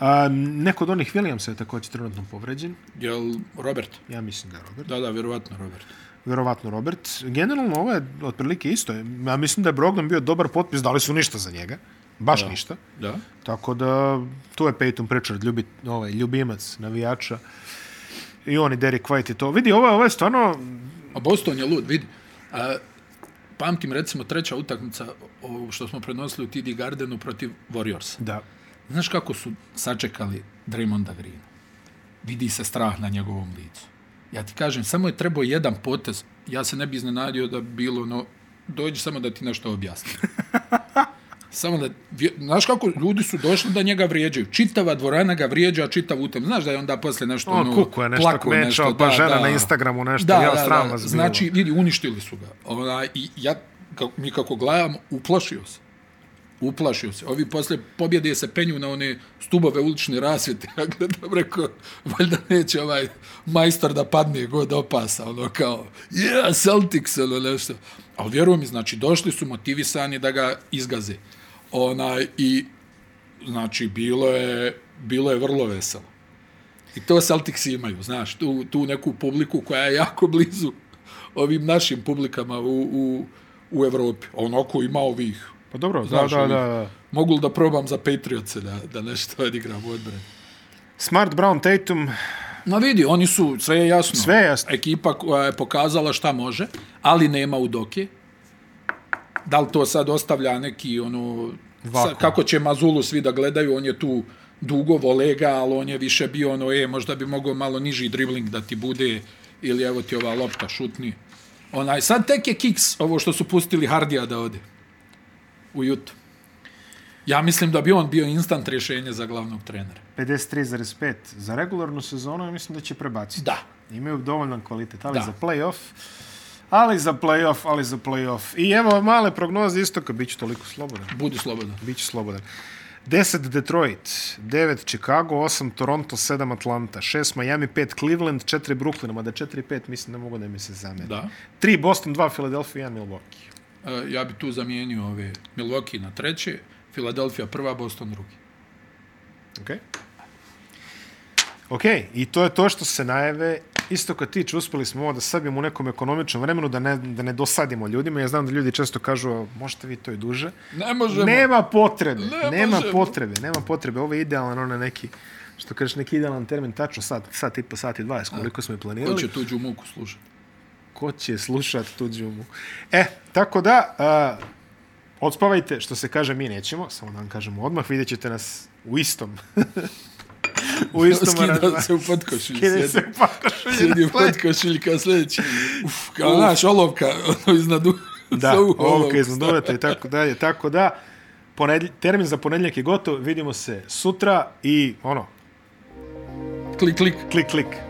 C: A, neko od onih Williamsa je također trenutno povređen.
A: Jel Robert?
C: Ja mislim da je Robert.
A: Da, da, vjerovatno Robert.
C: Verovatno Robert. Generalno ovo je otprilike isto. Ja mislim da je Brogdon bio dobar potpis, dali su ništa za njega. Baš da. ništa.
A: Da.
C: Tako da, tu je Peyton Pritchard, ljubi, ovaj, ljubimac, navijača. I oni Derek White i to. Vidi, ovo, je- ovo je stvarno...
A: A Boston je lud, vidi. A, pamtim, recimo, treća utakmica o, što smo prenosili u TD Gardenu protiv Warriorsa.
C: Da.
A: Znaš kako su sačekali Draymonda Greena? Vidi se strah na njegovom licu. Ja ti kažem, samo je trebao jedan potez. Ja se ne bi iznenadio da bi bilo ono, dođi samo da ti nešto
C: *laughs*
A: objasnim. samo da, vje- znaš kako, ljudi su došli da njega vrijeđaju. Čitava dvorana ga vrijeđa, čitav utem. Znaš da je onda posle nešto,
C: On
A: ono,
C: kuku je nešto
A: plako
C: kmečao,
A: nešto.
C: pa žena na Instagramu nešto, jao, sram vas bilo.
A: Znači, vidi, uništili su ga. Ona, I ja, kako, mi kako gledam, uplašio se. Uplašio se. Ovi posle pobjede se penju na one stubove ulične rasvjete. *laughs* Ja gledam, rekao, valjda neće ovaj majstor da padne god opasa. Ono kao, yeah, Celtics, ono nešto. Ali vjeruj mi, znači, došli su motivisani da ga izgaze. Ona, I, znači, bilo je, bilo je vrlo veselo. I to Celtics imaju, znaš, tu, tu neku publiku koja je jako blizu ovim našim publikama u, u, u Evropi. Onako ima ovih.
C: Pa dobro,
A: Znaš,
C: da, da,
A: ovih.
C: da.
A: Mogu li da probam za Patriotse da, da nešto odigram u odbrani?
C: Smart, Brown, Tatum,
A: Ma vidi, oni su, sve je jasno.
C: Sve je jasno.
A: Ekipa koja je pokazala šta može, ali nema Udoke. Da li to sad ostavlja neki, ono, sa,
C: Vakuum.
A: kako će Mazulu svi da gledaju, on je tu dugo volega, ali on je više bio ono, e, možda bi mogao malo niži dribling da ti bude, ili evo ti ova lopta, šutni. Onaj, sad tek je kiks, ovo što su pustili Hardija da ode u Jutu. Ja mislim da bi on bio instant rješenje za glavnog trenera.
C: 53,5. Za regularnu sezonu ja mislim da će prebaciti.
A: Da.
C: Imaju dovoljan kvalitet, ali
A: Da.
C: da. za play-off, ali za play-off, ali za play-off. I evo male prognoze istoka, bit ću toliko slobodan.
A: Budi slobodan.
C: Biću slobodan. 10 Detroit, 9 Chicago, 8 Toronto, 7 Atlanta, 6 Miami, 5 Cleveland, 4 Brooklyn, mada 4 i 5 mislim da mogu da mi se zamene.
A: Da.
C: 3 Boston, 2 Philadelphia, 1 Milwaukee.
A: E, ja bi tu zamijenio ove Milwaukee na treće, Filadelfija prva, Boston drugi.
C: Ok? Ok, i to je to što se najave. Isto kad tiče, uspeli smo ovo da sabijemo u nekom ekonomičnom vremenu, da ne, da ne dosadimo ljudima. Ja znam da ljudi često kažu, "A, možete vi to i duže.
A: Ne možemo.
C: Nema potrebe,
A: Ne
C: ne nema
A: možemo.
C: potrebe, nema potrebe. Ovo je idealan, ono neki, što kažeš, neki idealan termin, tačno sad, sat i po, sat i 20, koliko smo i planirali.
A: Ko će tuđu muku
C: *laughs*
A: slušati?
C: ko će slušat tuđu mu. E, tako da, uh, odspavajte, što se kaže, mi nećemo, samo da vam kažemo odmah, vidjet ćete nas u istom. *laughs* u istom
A: Skida
C: aranžmanu.
A: se u potkošilj.
C: Skida se pa
A: Sjedi u potkošiljka sljedeći. Uf, kao naš olovka, ono iznad u...
C: Da,
A: zovu
C: olovka iz Londoneta i tako dalje, tako da, ponedlj, termin za ponedjeljak je gotov, vidimo se sutra i ono,
A: Klik, klik.
C: klik, klik.